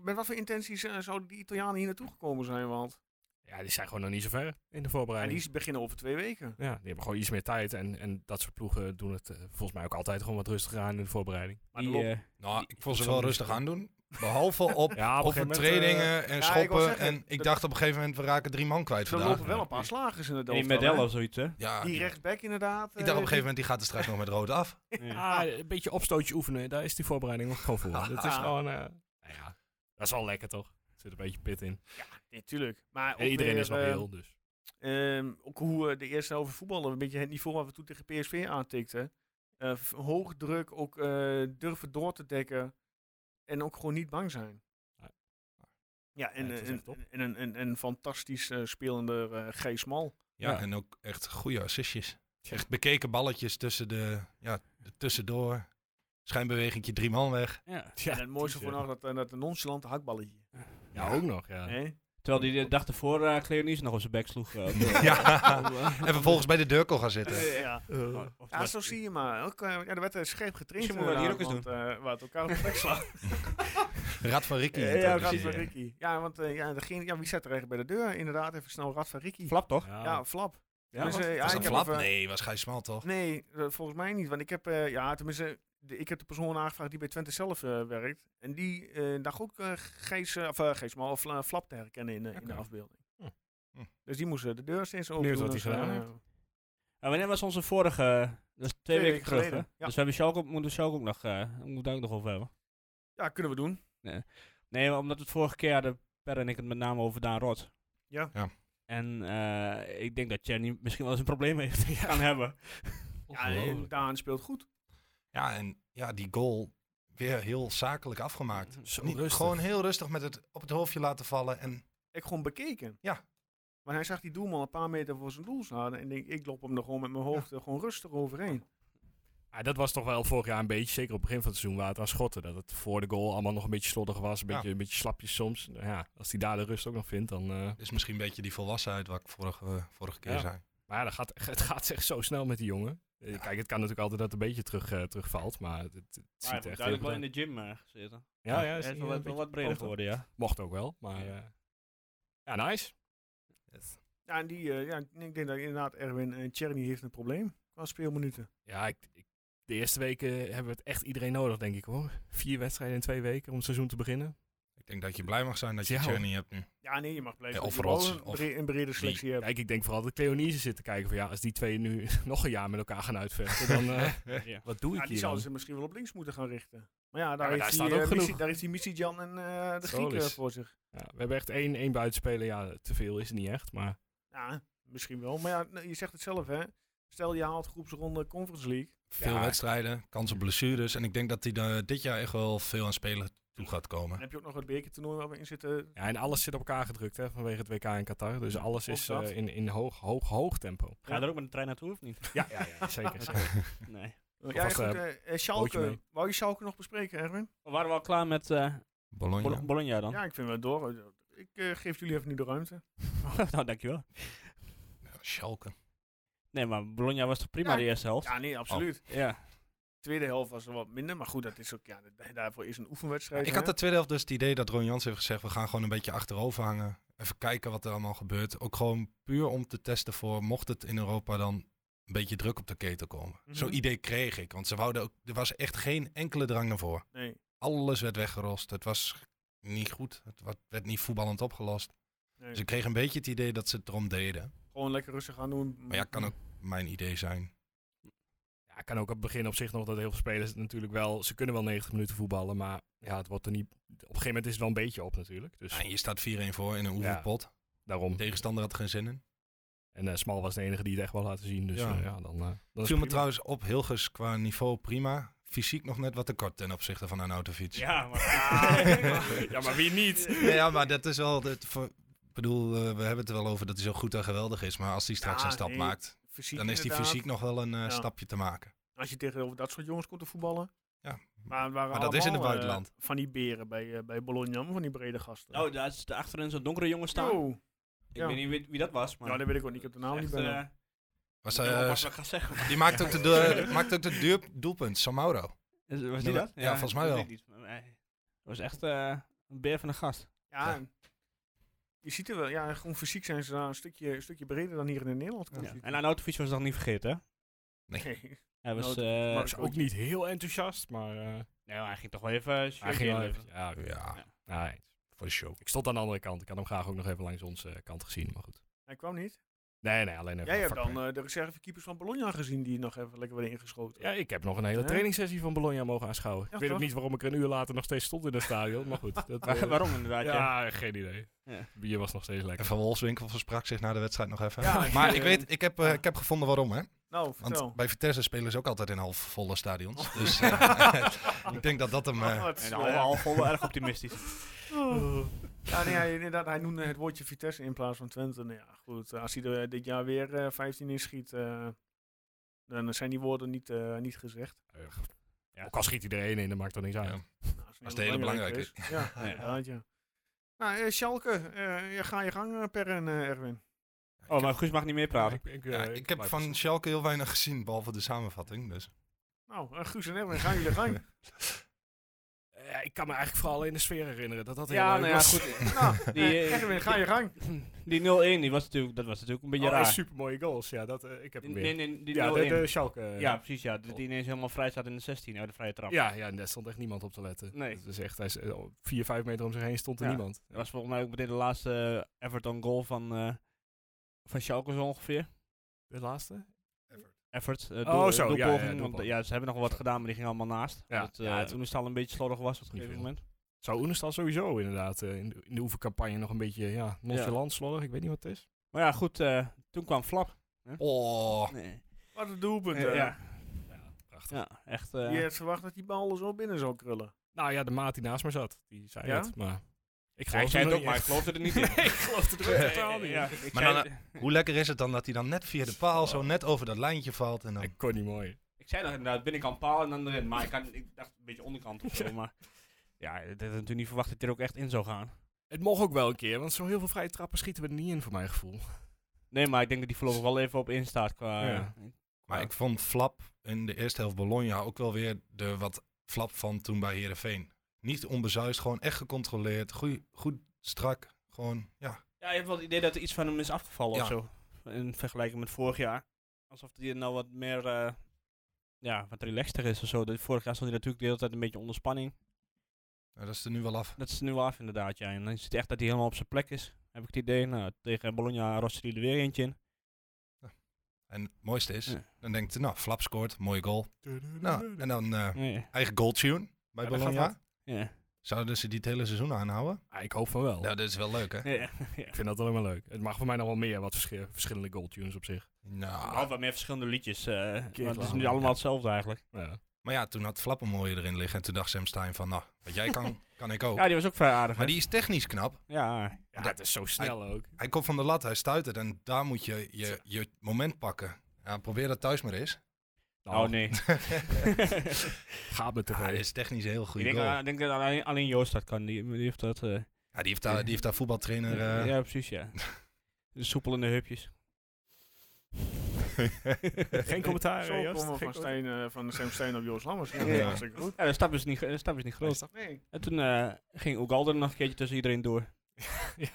S1: Met wat voor intenties eh, zouden die Italianen hier naartoe gekomen zijn? Want
S4: Ja, die zijn gewoon nog niet zo ver in de
S1: ja,
S4: voorbereiding.
S1: Ah, die is- beginnen over twee weken.
S4: Ja, die hebben gewoon iets meer tijd. En, en dat soort ploegen doen het eh, volgens mij ook altijd gewoon wat rustiger aan in de voorbereiding.
S1: Maar
S6: Die,
S1: dan
S6: eh,
S5: Nou, ik vond ze
S4: zal
S5: wel
S4: niet
S5: rustig
S4: doen.
S5: aandoen. Behalve op,
S4: Ja,
S5: op
S4: een gegeven moment, eh,
S5: trainingen en
S1: ik wou
S5: schoppen.
S1: zeggen,
S5: en ik
S1: dat-
S5: dacht op een gegeven moment, we raken drie man kwijt
S1: Ze
S5: vandaag.
S1: lopen wel een paar slagers in de
S6: die
S1: dood.
S6: Medel of zoiets, hè?
S5: Ja,
S1: Die rechtsback inderdaad.
S5: ik dacht op een
S1: eh,
S5: gegeven moment, die gaat er straks nog met rood af.
S4: ah, een beetje opstootje oefenen, daar is die voorbereiding ook gewoon voor. dat is
S1: Ja.
S4: gewoon, eh, nou ja, dat is wel lekker toch? Er zit een beetje pit in.
S1: die- Natuurlijk. Maar ook
S4: En iedereen
S1: weer,
S4: is nog
S1: eh,
S4: heel, dus.
S1: ehm, ook hoe eh, de eerste helft voetballen, een beetje het niveau waar we toen tegen PSV aantikten. Eh, v- hoog druk, ook eh, durven door te dekken. En ook gewoon niet bang zijn.
S4: Nee.
S1: Ja, en,
S4: Nee, het is
S1: eh,
S4: echt top.
S1: en, en, en, en fantastisch eh, spelende eh Gijs Mal.
S5: Ja,
S4: Ja.
S5: en ook echt goede assistjes. Echt bekeken balletjes tussen de, ja, de tussendoor. Schijnbewegingje drie man weg.
S6: Ja.
S4: Ja,
S1: en het mooiste
S4: die,
S1: voor
S4: eh,
S1: nog dat, eh, dat nonchalante hakballetje.
S4: Ja, ook nog, ja.
S1: Nee?
S6: Terwijl die de dag ervoor eh Cleonice nog op zijn bek sloeg. eh, op de-
S5: Ja.
S6: op, eh,
S5: En vervolgens bij de deurkel gaan zitten.
S1: Ja.
S6: op- op de
S1: ja,
S6: rest-
S1: zo zie je maar. Ook, eh, ja, er werd eh, scherp getraind.
S6: Misschien moeten we dat hier ook eens
S1: inderdaad, want, eh, waar het elkaar op de bek slaat.
S5: Rad van Ricky.
S6: Ja,
S5: heet
S6: ja,
S5: dat
S1: Rad
S5: precies.
S1: van Ricky. Ja, want eh, ja, degene, ja, wie zat er eigenlijk bij de deur? Inderdaad, even snel Rad van Ricky.
S6: Flap toch?
S4: Ja,
S1: Ja, Flap.
S6: Ja,
S1: Dus,
S6: was-
S1: eh, ja,
S5: Was
S1: ik heb
S5: dat flap?
S1: even-
S5: Nee, was Gijs Smal toch?
S1: Nee, eh, volgens mij niet. Want ik heb, eh, ja, tenminste, de- ik heb de persoon aangevraagd die bij Twente zelf eh, werkt. En die eh dacht ook eh Gijs, eh, of, eh, Gijs, maar of, eh, Flap te herkennen in, eh, in de
S4: Oké.
S1: afbeelding.
S4: Hm.
S5: Hm.
S1: Dus die moest eh, de deur steeds open.
S4: Benieuwd wat
S1: doen,
S4: hij
S1: dus,
S4: gedaan
S1: eh,
S6: Maar wanneer was onze vorige? Dat is twee, weken,
S1: weken
S6: terug.
S1: geleden,
S6: hè?
S1: ja.
S6: Dus we hebben Schalke, moeten Schalke ook nog, eh moeten we daar ook nog over hebben.
S1: Ja, kunnen we doen.
S6: Nee, maar omdat we het vorige keer hadden Per en ik het met name over Daan Rot.
S1: Ja.
S5: Ja.
S6: En eh, ik denk dat Jenny misschien wel eens een probleem heeft gaan hebben.
S1: Ja, en Daan speelt goed.
S5: Ja, en ja, die goal weer heel zakelijk afgemaakt.
S4: Zo
S5: Niet-
S4: rustig.
S5: Gewoon heel rustig met het op het hoofdje laten vallen. En
S1: ik gewoon bekeken.
S5: Ja.
S1: Maar hij zag die doelman een paar meter voor zijn doel staan. En denk, ik loop hem er gewoon met mijn hoofd eh, gewoon rustig overheen.
S4: Ah, dat was toch wel vorig jaar een beetje, zeker op het begin van het seizoen, waar het aan schotten. Dat het voor de goal allemaal nog een beetje sloddig was, een,
S5: Ja.
S4: beetje, een beetje slapjes soms. Nou Ja, als hij daar de rust ook nog vindt, dan... eh,
S5: is misschien een beetje die volwassenheid wat ik vorige, eh, vorige keer
S4: Ja.
S5: zei.
S4: Maar ja, dat gaat, het gaat echt zo snel met die jongen. Eh, Kijk, het kan natuurlijk altijd dat het een beetje terug, eh, terugvalt, maar het, het ziet
S6: Maar
S4: er
S6: hij heeft
S4: echt
S6: duidelijk
S4: heel
S6: wel
S4: goed
S6: in
S4: uit.
S6: de gym eh, gezeten.
S4: Ja, ja, is
S6: Hij is
S4: niet
S6: wel wat,
S4: een
S6: wel
S4: beetje
S6: wat breder
S4: groter.
S6: geworden, ja.
S4: Mocht ook wel, maar eh, ja, nice.
S1: Ja, en die, eh, ja, ik denk dat inderdaad Erwin en Tjerni heeft een probleem qua speelminuten.
S4: Ja, ik, ik- de eerste weken hebben we het echt iedereen nodig, denk ik hoor. Vier wedstrijden in twee weken om het seizoen te beginnen.
S5: Ik denk dat je blij mag zijn dat je
S4: Ja, hoor.
S5: Journey hebt nu.
S1: Ja, nee, je mag blijven.
S5: Ja, of
S1: je wil
S5: Rots,
S1: een,
S5: of
S1: bre- een brede selectie hebben.
S4: Kijk, ik denk vooral dat Cleonise zit te kijken van ja, als die twee nu nog een jaar met elkaar gaan uitvechten, dan eh,
S6: ja.
S4: wat doe ik
S1: Ja, die
S4: hier
S1: zouden
S4: dan?
S1: ze misschien wel op links moeten gaan richten. Maar ja, daar,
S4: maar daar
S1: heeft,
S4: staat
S1: hij,
S4: ook
S1: eh, Missi-
S4: genoeg.
S1: daar heeft hij Missie Jan en eh, de Griek eh,
S4: Scholis.
S1: voor zich.
S4: Ja, we hebben echt één, één buitenspeler, ja, te veel is het niet echt, maar
S1: Ja, misschien wel. Maar ja, nou, je zegt het zelf, hè. Stel, je haalt groepsronde Conference League.
S5: Veel
S4: Ja.
S5: wedstrijden, kans op blessures. En ik denk dat hij daar dit jaar echt wel veel aan spelen toe gaat komen.
S1: Dan heb je ook nog het bekertoernooi waar we in zitten.
S4: Ja, en alles zit op elkaar gedrukt hè, vanwege het WK in Qatar. Dus alles
S1: Ook
S4: is
S1: dat.
S4: eh, in, in hoog, hoog, hoog tempo.
S6: Ga je er ook met de trein naartoe of niet?
S4: Ja, ja, ja zeker. zeker.
S6: Nee.
S1: Ja, ja,
S4: was,
S1: goed,
S4: eh,
S1: eh, eh,
S4: bootje
S1: Schalke.
S4: mee.
S1: Wou je Schalke nog bespreken, Erwin?
S6: We waren wel klaar met eh,
S5: Bologna.
S6: Bol- Bologna dan.
S1: Ja, ik vind wel door. Ik eh, geef jullie even nu de ruimte.
S6: nou, dankjewel.
S5: Ja, Schalke.
S6: Nee, maar Bologna was toch prima
S1: Ja.
S6: de eerste helft? Ja.
S1: Ja, nee, absoluut.
S5: oh.
S6: ja.
S1: tweede helft was er wat minder, maar goed, dat is ook, ja, dat- daarvoor is een oefenwedstrijd.
S5: Ik
S1: hè?
S5: had de tweede helft dus het idee dat Ron Jans heeft gezegd: we gaan gewoon een beetje achterover hangen. Even kijken wat er allemaal gebeurt. Ook gewoon puur om te testen voor mocht het in Europa dan een beetje druk op de keten komen.
S1: Mhm.
S5: Zo'n idee kreeg ik, want ze wouden ook, er was echt geen enkele drang naar voren.
S1: Nee.
S5: Alles werd weggerost. Het was niet goed. Het wa- werd niet voetballend opgelost.
S1: nee.
S5: Dus ik kreeg een beetje het idee dat ze het erom deden.
S1: Gewoon lekker rustig aan doen.
S5: Maar ja, kan ook mijn idee zijn.
S4: Ja, kan ook op het begin op zich nog dat heel veel spelers het natuurlijk wel... Ze kunnen wel 90 minuten voetballen, maar ja, het wordt er niet... Op een gegeven moment is het wel een beetje op natuurlijk. Dus
S5: En je staat 4-1 voor in een oefenpot.
S4: daarom.
S5: Tegenstander had er geen zin in.
S4: En eh, Smal was de enige die het echt wel laten zien. Dus
S5: Ja.
S4: ja, ja dan, eh, dan is het
S5: Viel me
S4: prima.
S5: trouwens op, Hilgers qua niveau prima. Fysiek nog net wat tekort ten opzichte van een autofiets.
S6: maar...
S4: ja, maar wie niet?
S5: Nee, ja, maar dat is wel. het voor- ik bedoel, eh, we hebben het er wel over dat hij zo goed en geweldig is. Maar als hij straks
S1: Ja,
S5: een stap
S1: nee,
S5: maakt,
S1: fysiek
S5: dan is die
S1: inderdaad.
S5: fysiek nog wel een eh,
S1: Ja.
S5: stapje te maken.
S1: Als je tegenover dat soort jongens komt te voetballen.
S5: Ja.
S1: Maar, het waren
S5: Maar dat is in het
S1: allemaal, eh,
S5: buitenland.
S1: van die beren bij, eh, bij Bologna, maar van die brede gasten.
S6: Oh, daar is de achterin zo'n donkere jongen staan.
S1: Yo.
S6: Ik
S1: ja.
S6: weet niet wie, wie dat was, maar...
S1: Ja, dat weet ik ook niet. Ik heb de naam
S6: Echt,
S1: niet bij.
S6: eh,
S1: me.
S5: Was,
S6: ik
S5: eh,
S6: weet niet wat ik ga zeggen.
S5: die maakt ook de, deur- maakt ook de duur, doelpunt, Samauro.
S6: Is- Was
S5: Ja,
S6: die dat?
S5: ja, volgens mij
S6: dat
S5: wel.
S6: weet ik niet, maar nee. Dat was echt eh, een beer van een gast.
S1: ja.
S5: Ja.
S1: en Je ziet er wel, ja, gewoon fysiek zijn ze daar een stukje, een stukje breder dan hier in Nederland.
S6: Ja. En aan autofiets was nog niet vergeten, hè?
S1: Nee.
S6: Hij was...
S1: Nou,
S6: eh,
S1: maar-
S4: was ook niet heel enthousiast, maar... eh,
S6: nee, maar hij ging toch wel even... eh,
S4: hij
S6: shirtje
S4: ging wel
S6: inleveren.
S4: even... Ja, oké.
S5: Ja,
S4: Nee,
S5: voor de show.
S4: ik stond aan de andere kant. Ik had hem graag ook nog even langs onze eh, kant gezien, maar goed.
S1: Hij kwam niet.
S4: Nee, nee, alleen even...
S1: Jij hebt
S4: vak-
S1: dan eh, de reservekeepers van Bologna gezien die nog even lekker werden ingeschoten.
S4: Ja, ik heb nog een hele
S1: Ja.
S4: trainingssessie van Bologna mogen aanschouwen. ik weet
S1: toch?
S4: ook niet waarom ik er een uur later nog steeds stond in het stadion, maar goed. Dat, eh,
S6: Waar- Waarom inderdaad, ja.
S4: Ja, geen idee.
S6: Ja.
S4: Bier was nog steeds
S5: En
S4: lekker.
S5: Van Wolfswinkel versprak zich na de wedstrijd nog even.
S1: Ja,
S5: maar
S1: ik-
S5: ik, weet, ik, heb, eh,
S1: ja.
S5: ik heb gevonden waarom, hè.
S1: Nou,
S5: Want
S1: vertel.
S5: bij Vitesse spelen ze ook altijd in half volle stadions. Dus eh, ik denk dat dat hem... eh,
S1: Oh, het is
S6: En
S1: wel-
S6: al, al vol wel erg optimistisch.
S1: Ja, nee, hij, inderdaad, hij noemde het woordje Vitesse in plaats van Twente. Nou ja, goed. Als hij er dit jaar weer eh, 15 in schiet, eh, dan zijn die woorden niet, eh, niet gezegd.
S4: Ja. Ook al schiet iedereen in, dat maakt toch niks uit.
S5: Ja.
S1: Nou,
S5: Als
S1: heel
S5: het hele
S1: belangrijk
S5: belangrijke
S1: is. Ja,
S6: Ja.
S1: inderdaad, ja. Nou, eh, Schalke, eh, ja, ga je gang, eh, Per en eh, Erwin.
S6: Oh, maar Guus mag niet meer praten.
S4: Ik, ik, eh,
S5: ja,
S4: ik
S5: ik heb
S4: blijf
S5: van
S4: het-
S5: Schalke heel weinig gezien, behalve de samenvatting. Dus.
S1: Nou, eh, Guus en Erwin, gaan jullie gang.
S4: Ja, ik kan me eigenlijk vooral in de sfeer herinneren. Dat dat
S6: Ja, nou
S4: heel leuk
S6: ja,
S4: was.
S6: goed.
S1: nou, eh,
S6: Die, eh,
S1: Erwin, ga je gang.
S6: Die 0-1, die was natuurlijk, dat was natuurlijk een beetje
S4: Oh, en
S6: raar.
S4: supermooie goals. Ja, dat, eh, ik heb hem weer.
S6: Nee, nee, die
S4: ja,
S6: 0-1.
S4: de, de Schalke. eh,
S6: ja, precies, ja. Dat die ineens helemaal vrij staat in de 16, uit de vrije trap.
S4: ja, ja, en daar stond echt niemand op te letten.
S6: Nee.
S4: Dat is echt, hij is, eh, op vier, vijf meter om zich heen stond er
S6: Ja.
S4: niemand.
S6: Dat was volgens mij ook meteen de laatste Everton goal van, eh van Schalke zo ongeveer.
S4: De laatste?
S6: Effort. eh,
S4: Oh,
S6: doel-
S4: zo, ja,
S6: doelpoging,
S4: ja,
S6: want,
S4: doelpoging.
S6: ja, ze hebben nog wel wat gedaan, maar die ging allemaal naast.
S4: Ja,
S6: dat, eh
S4: ja, het-
S6: toen het al een beetje slordig was op een
S4: niet
S6: gegeven
S4: veel.
S6: moment.
S4: Zou Oenestal sowieso inderdaad eh, in, de, in de oefencampagne nog een beetje ja, nonchalant slordig. Ik weet niet wat het is.
S6: Maar ja, goed, eh, toen kwam Flap.
S5: Oh,
S6: Nee.
S1: Wat een doelpunt.
S6: Eh,
S1: eh.
S6: ja.
S4: Prachtig.
S6: ja, echt. eh,
S1: Je had verwacht dat die bal er zo binnen zou krullen.
S4: Nou ja, de maat die naast me zat, die zei
S1: Ja?
S4: het. Maar ik
S6: Hij
S4: geloof
S6: zei het ook,
S4: nog
S6: maar ik
S4: niet
S6: geloofde er niet in.
S4: echt. ik geloof het ook totaal niet.
S6: Ja, ik
S5: Maar
S6: zei
S5: dan-
S6: het-
S5: hoe lekker is het dan dat hij dan net via de paal zo net over dat lijntje valt. En dan,
S4: Ik kon niet mooi.
S6: Ik zei nog inderdaad binnenkant paal en dan erin. Maar ik, kan, ik dacht een beetje onderkant of zo. Maar ja, dat had ik natuurlijk niet verwacht dat hij er ook echt in zou gaan.
S4: Het mocht ook wel een keer, want zo heel veel vrije trappen schieten we er niet in, voor mijn gevoel.
S6: Nee, maar ik denk dat die voorlopig wel even op instaat qua...
S4: Ja.
S5: maar ik vond Flap in de eerste helft Bologna ook wel weer de wat Flap van toen bij Herenveen. Niet onbezuist, gewoon echt gecontroleerd. Goed, goed strak. Gewoon, ja.
S6: Ja, je hebt wel het idee dat er iets van hem is afgevallen
S5: Ja.
S6: of zo. In vergelijking met vorig jaar. Alsof hij er nou wat meer... eh, ja, wat relaxter is of zo. Dat vorig jaar stond hij natuurlijk de hele tijd een beetje onder spanning.
S5: Nou, dat is er nu wel af.
S6: Dat is nu wel af inderdaad, ja. En dan is het echt dat hij helemaal op zijn plek is. Heb ik het idee. Nou, tegen Bologna rost hij er weer eentje in.
S5: En het mooiste is,
S6: Ja.
S5: dan denkt hij, nou, Flap scoort, mooie goal. Nou, en dan eh,
S6: Nee.
S5: eigen goal tune bij
S4: Ja, dan gaat
S5: Bologna.
S6: Ja.
S5: Zouden ze dit hele seizoen aanhouden?
S4: Ah, ik hoop van wel.
S6: Nou,
S5: Ja, dat is wel leuk, hè?
S6: Ja. ja.
S4: Ik vind dat alleen maar leuk. Het mag voor mij nog wel meer, wat verschi- verschillende goaltunes op zich.
S6: Al
S5: Nou,
S6: wat meer verschillende liedjes. eh, maar het is
S4: lang,
S6: nu
S4: Ah. ja.
S6: allemaal hetzelfde eigenlijk.
S4: Ja.
S5: maar ja, toen had Flap een mooie erin liggen. En toen dacht Sam Stein van, nou, wat jij kan, kan ik ook.
S4: Oh.
S6: Ja, die was ook vrij aardig.
S5: Maar
S6: hè?
S5: die is technisch knap.
S6: Ja,
S4: Ja, het is zo snel ook.
S5: Hij komt van de lat, hij stuit het en daar moet je je, je moment pakken. Ja, probeer dat thuis maar eens.
S6: oh nee.
S4: Nou,
S6: Ah,
S4: Gaat met de
S5: Ja,
S4: tv.
S5: dat is technisch een heel
S6: ik
S5: goede
S6: denk,
S5: goal.
S6: dat- ik denk dat alleen, alleen Joost dat kan. Die, die heeft dat... eh,
S5: Ja, die heeft daar, die heeft daar eh, voetbaltrainer... eh,
S6: ja, precies, ja. Soepel in de heupjes.
S4: Geen
S6: Ah,
S4: commentaar,
S1: Zo
S4: eh, Joost.
S1: komen we van,
S4: Geen commentaar.
S1: Stijn, eh, van Sam Stein op Joost Lammers. Ja,
S6: Ja.
S1: ja. hartstikke goed.
S6: Ja, de stap is niet, de stap is niet groot.
S1: Nee.
S6: En toen eh, ging Ugalde nog een keertje tussen iedereen door.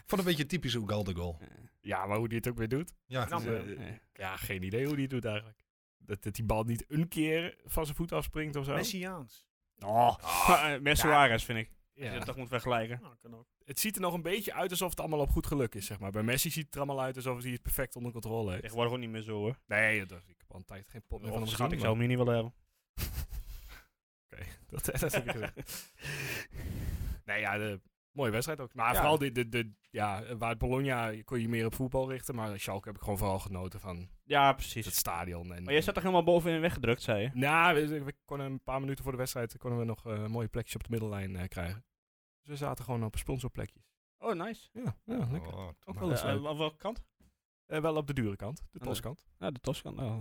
S5: Vond een beetje typisch Ugalde goal.
S4: Ja, maar hoe die het ook weer doet.
S5: Ja, Oh,
S1: Nou,
S4: Dus, eh,
S6: Eh,
S4: ja, geen idee hoe die het doet eigenlijk. Dat, dat die bal niet een keer van zijn voet afspringt of zo.
S1: Messiaans.
S6: Oh, oh. Suarez vind ik. Als je
S4: Ah. Ja.
S6: dat toch moet vergelijken.
S1: Nou, kan ook.
S4: Het ziet er nog een beetje uit alsof het allemaal op goed geluk is, zeg maar. Bij Messi ziet het er allemaal uit alsof hij het perfect onder controle heeft.
S6: Tegenwoordig ook niet meer zo hoor.
S4: Nee, dat, ik heb al een tijd geen pot meer van
S6: Of
S4: hem
S6: schat, ik
S4: gezien.
S6: zou
S4: maar-
S6: hem hier niet willen hebben.
S4: Dat, dat heb ik gezegd. Nee, ja, de, mooie wedstrijd ook. Maar
S6: Ja.
S4: vooral de, de, de, ja, waar het Bologna kon je meer op voetbal richten. Maar Schalke heb ik gewoon vooral genoten van
S6: ja, precies.
S4: het stadion. En,
S6: Maar jij zat toch helemaal bovenin weggedrukt, zei je?
S4: Nou, we, we konden een paar minuten voor de wedstrijd konden we nog eh, een mooie plekjes op de middellijn eh, krijgen. Dus we zaten gewoon op sponsorplekjes.
S6: Oh, nice.
S4: Ja, ja lekker.
S5: Oh,
S4: Ook wel
S6: Aan
S4: eens leuk.
S6: welke kant?
S4: Eh, wel op de dure kant, de
S6: de-
S4: toskant.
S6: Ja, de Toscan. Oh.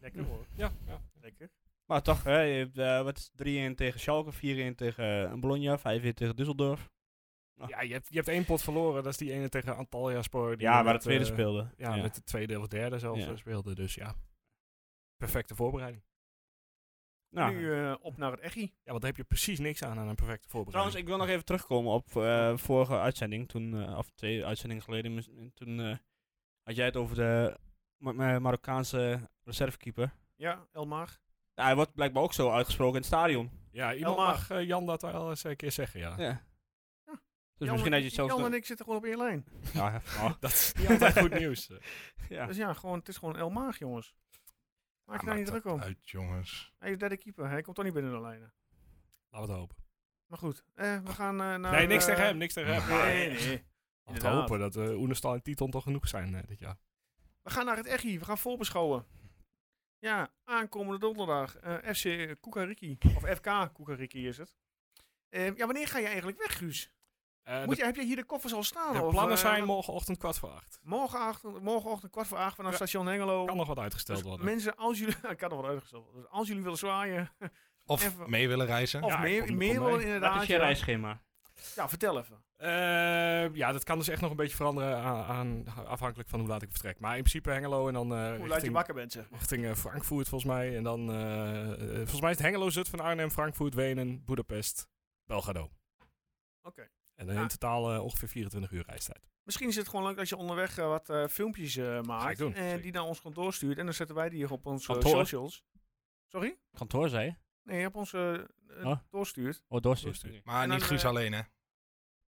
S1: Lekker hoor.
S4: Ja, ja.
S1: Lekker.
S6: Maar toch, hè, je hebt, eh, wat is het? 3-1 tegen Schalke, 4-1 tegen eh, Bologna, 5-1 tegen Düsseldorf. Ah.
S4: ja je, hebt, je hebt één pot verloren, dat is die ene tegen Antalya Spoor. die
S6: Ja,
S4: met,
S6: waar de tweede
S4: eh,
S6: speelde.
S4: Ja, met de tweede of derde zelfs
S6: Ja.
S4: eh, speelde. Dus ja, perfecte voorbereiding.
S6: Nou.
S1: Nu eh, op naar het Echi.
S4: Ja, want daar heb je precies niks aan aan een perfecte voorbereiding.
S6: Trouwens, ik wil nog even terugkomen op eh, vorige uitzending, toen, eh, of twee uitzendingen geleden. mis- en Toen eh, had jij het over de Ma- Ma- Marokkaanse reservekeeper.
S1: Ja, Elmar.
S6: Ja, Nou, hij wordt blijkbaar ook zo uitgesproken in het stadion.
S4: ja, iemand
S1: Elma.
S4: mag eh, Jan dat wel eens een keer zeggen, ja.
S6: Ja. Dus
S1: Jan
S6: misschien
S1: en-
S6: had je het zelfs...
S1: Jan en
S6: nog-
S1: ik zitten gewoon op één lijn.
S6: Ja, oh,
S4: Dat is niet altijd goed nieuws. eh.
S6: ja.
S1: Dus ja, gewoon, het is gewoon Elmar, jongens. Maak je daar
S5: maakt
S1: niet druk om.
S5: Uit, jongens.
S1: Hij is derde keeper. Hij komt toch niet binnen de lijnen.
S4: Laten we het hopen.
S1: Maar goed, eh, we gaan eh, naar...
S4: nee, niks
S1: eh,
S4: tegen hem, niks tegen hem.
S1: Nee, nee, nee.
S4: Laten we
S1: inderdaad.
S4: hopen dat eh Oenestal en Titon toch genoeg zijn eh, dit jaar.
S1: We gaan naar het Echi. We gaan voorbeschouwen. Ja, aankomende donderdag. eh, FC Kukariki. Of FK Kukariki is het. Eh, ja, wanneer ga je eigenlijk weg, Guus?
S4: Eh,
S1: Moet
S4: de,
S1: je, heb je hier de koffers al staan?
S4: de
S1: of,
S4: plannen
S1: eh,
S4: zijn morgenochtend kwart voor acht.
S1: morgenochtend, morgenochtend kwart voor acht vanaf
S4: Ja.
S1: station Hengelo.
S4: Kan nog wat
S1: Dus
S4: uitgesteld worden.
S1: mensen, als jullie... Ik kan er wat uitgesteld worden. Dus als jullie willen zwaaien...
S5: Of
S1: Even-
S5: mee willen reizen.
S1: Of
S4: Ja,
S1: meer,
S4: kom- kom
S1: meer
S4: mee.
S1: willen inderdaad.
S6: Wat is je
S1: ja.
S6: reisschema?
S1: Ja, vertel even.
S4: Eh, ja, dat kan dus echt nog een beetje veranderen aan, aan- afhankelijk van hoe laat ik vertrek. Maar in principe Hengelo en dan
S1: Hoe
S4: eh,
S1: laat je
S4: richting,
S1: wakker bent, zeg.
S4: richting eh, Frankfurt volgens mij. En dan, eh, eh, volgens mij is het Hengelo, Zut van Arnhem, Frankfurt, Wenen, Budapest, Belgrado.
S1: Oké.
S4: En dan in
S1: Ah.
S4: totaal eh, ongeveer 24 uur reistijd.
S1: Misschien is het gewoon leuk dat je onderweg eh, wat eh, filmpjes eh, maakt.
S4: ik doen,
S1: eh,
S4: zeker.
S1: die naar ons kantoor stuurt. En dan zetten wij die hier op onze
S6: Kantoor?
S1: socials. Sorry?
S6: Kantoor, zei je?
S1: Nee, op ons eh, eh,
S6: Oh.
S1: doorstuurt. Eh,
S6: Oh, doorstuur.
S4: Doorstuur.
S5: Maar
S1: En dan,
S5: niet Guus
S1: eh,
S5: alleen, hè?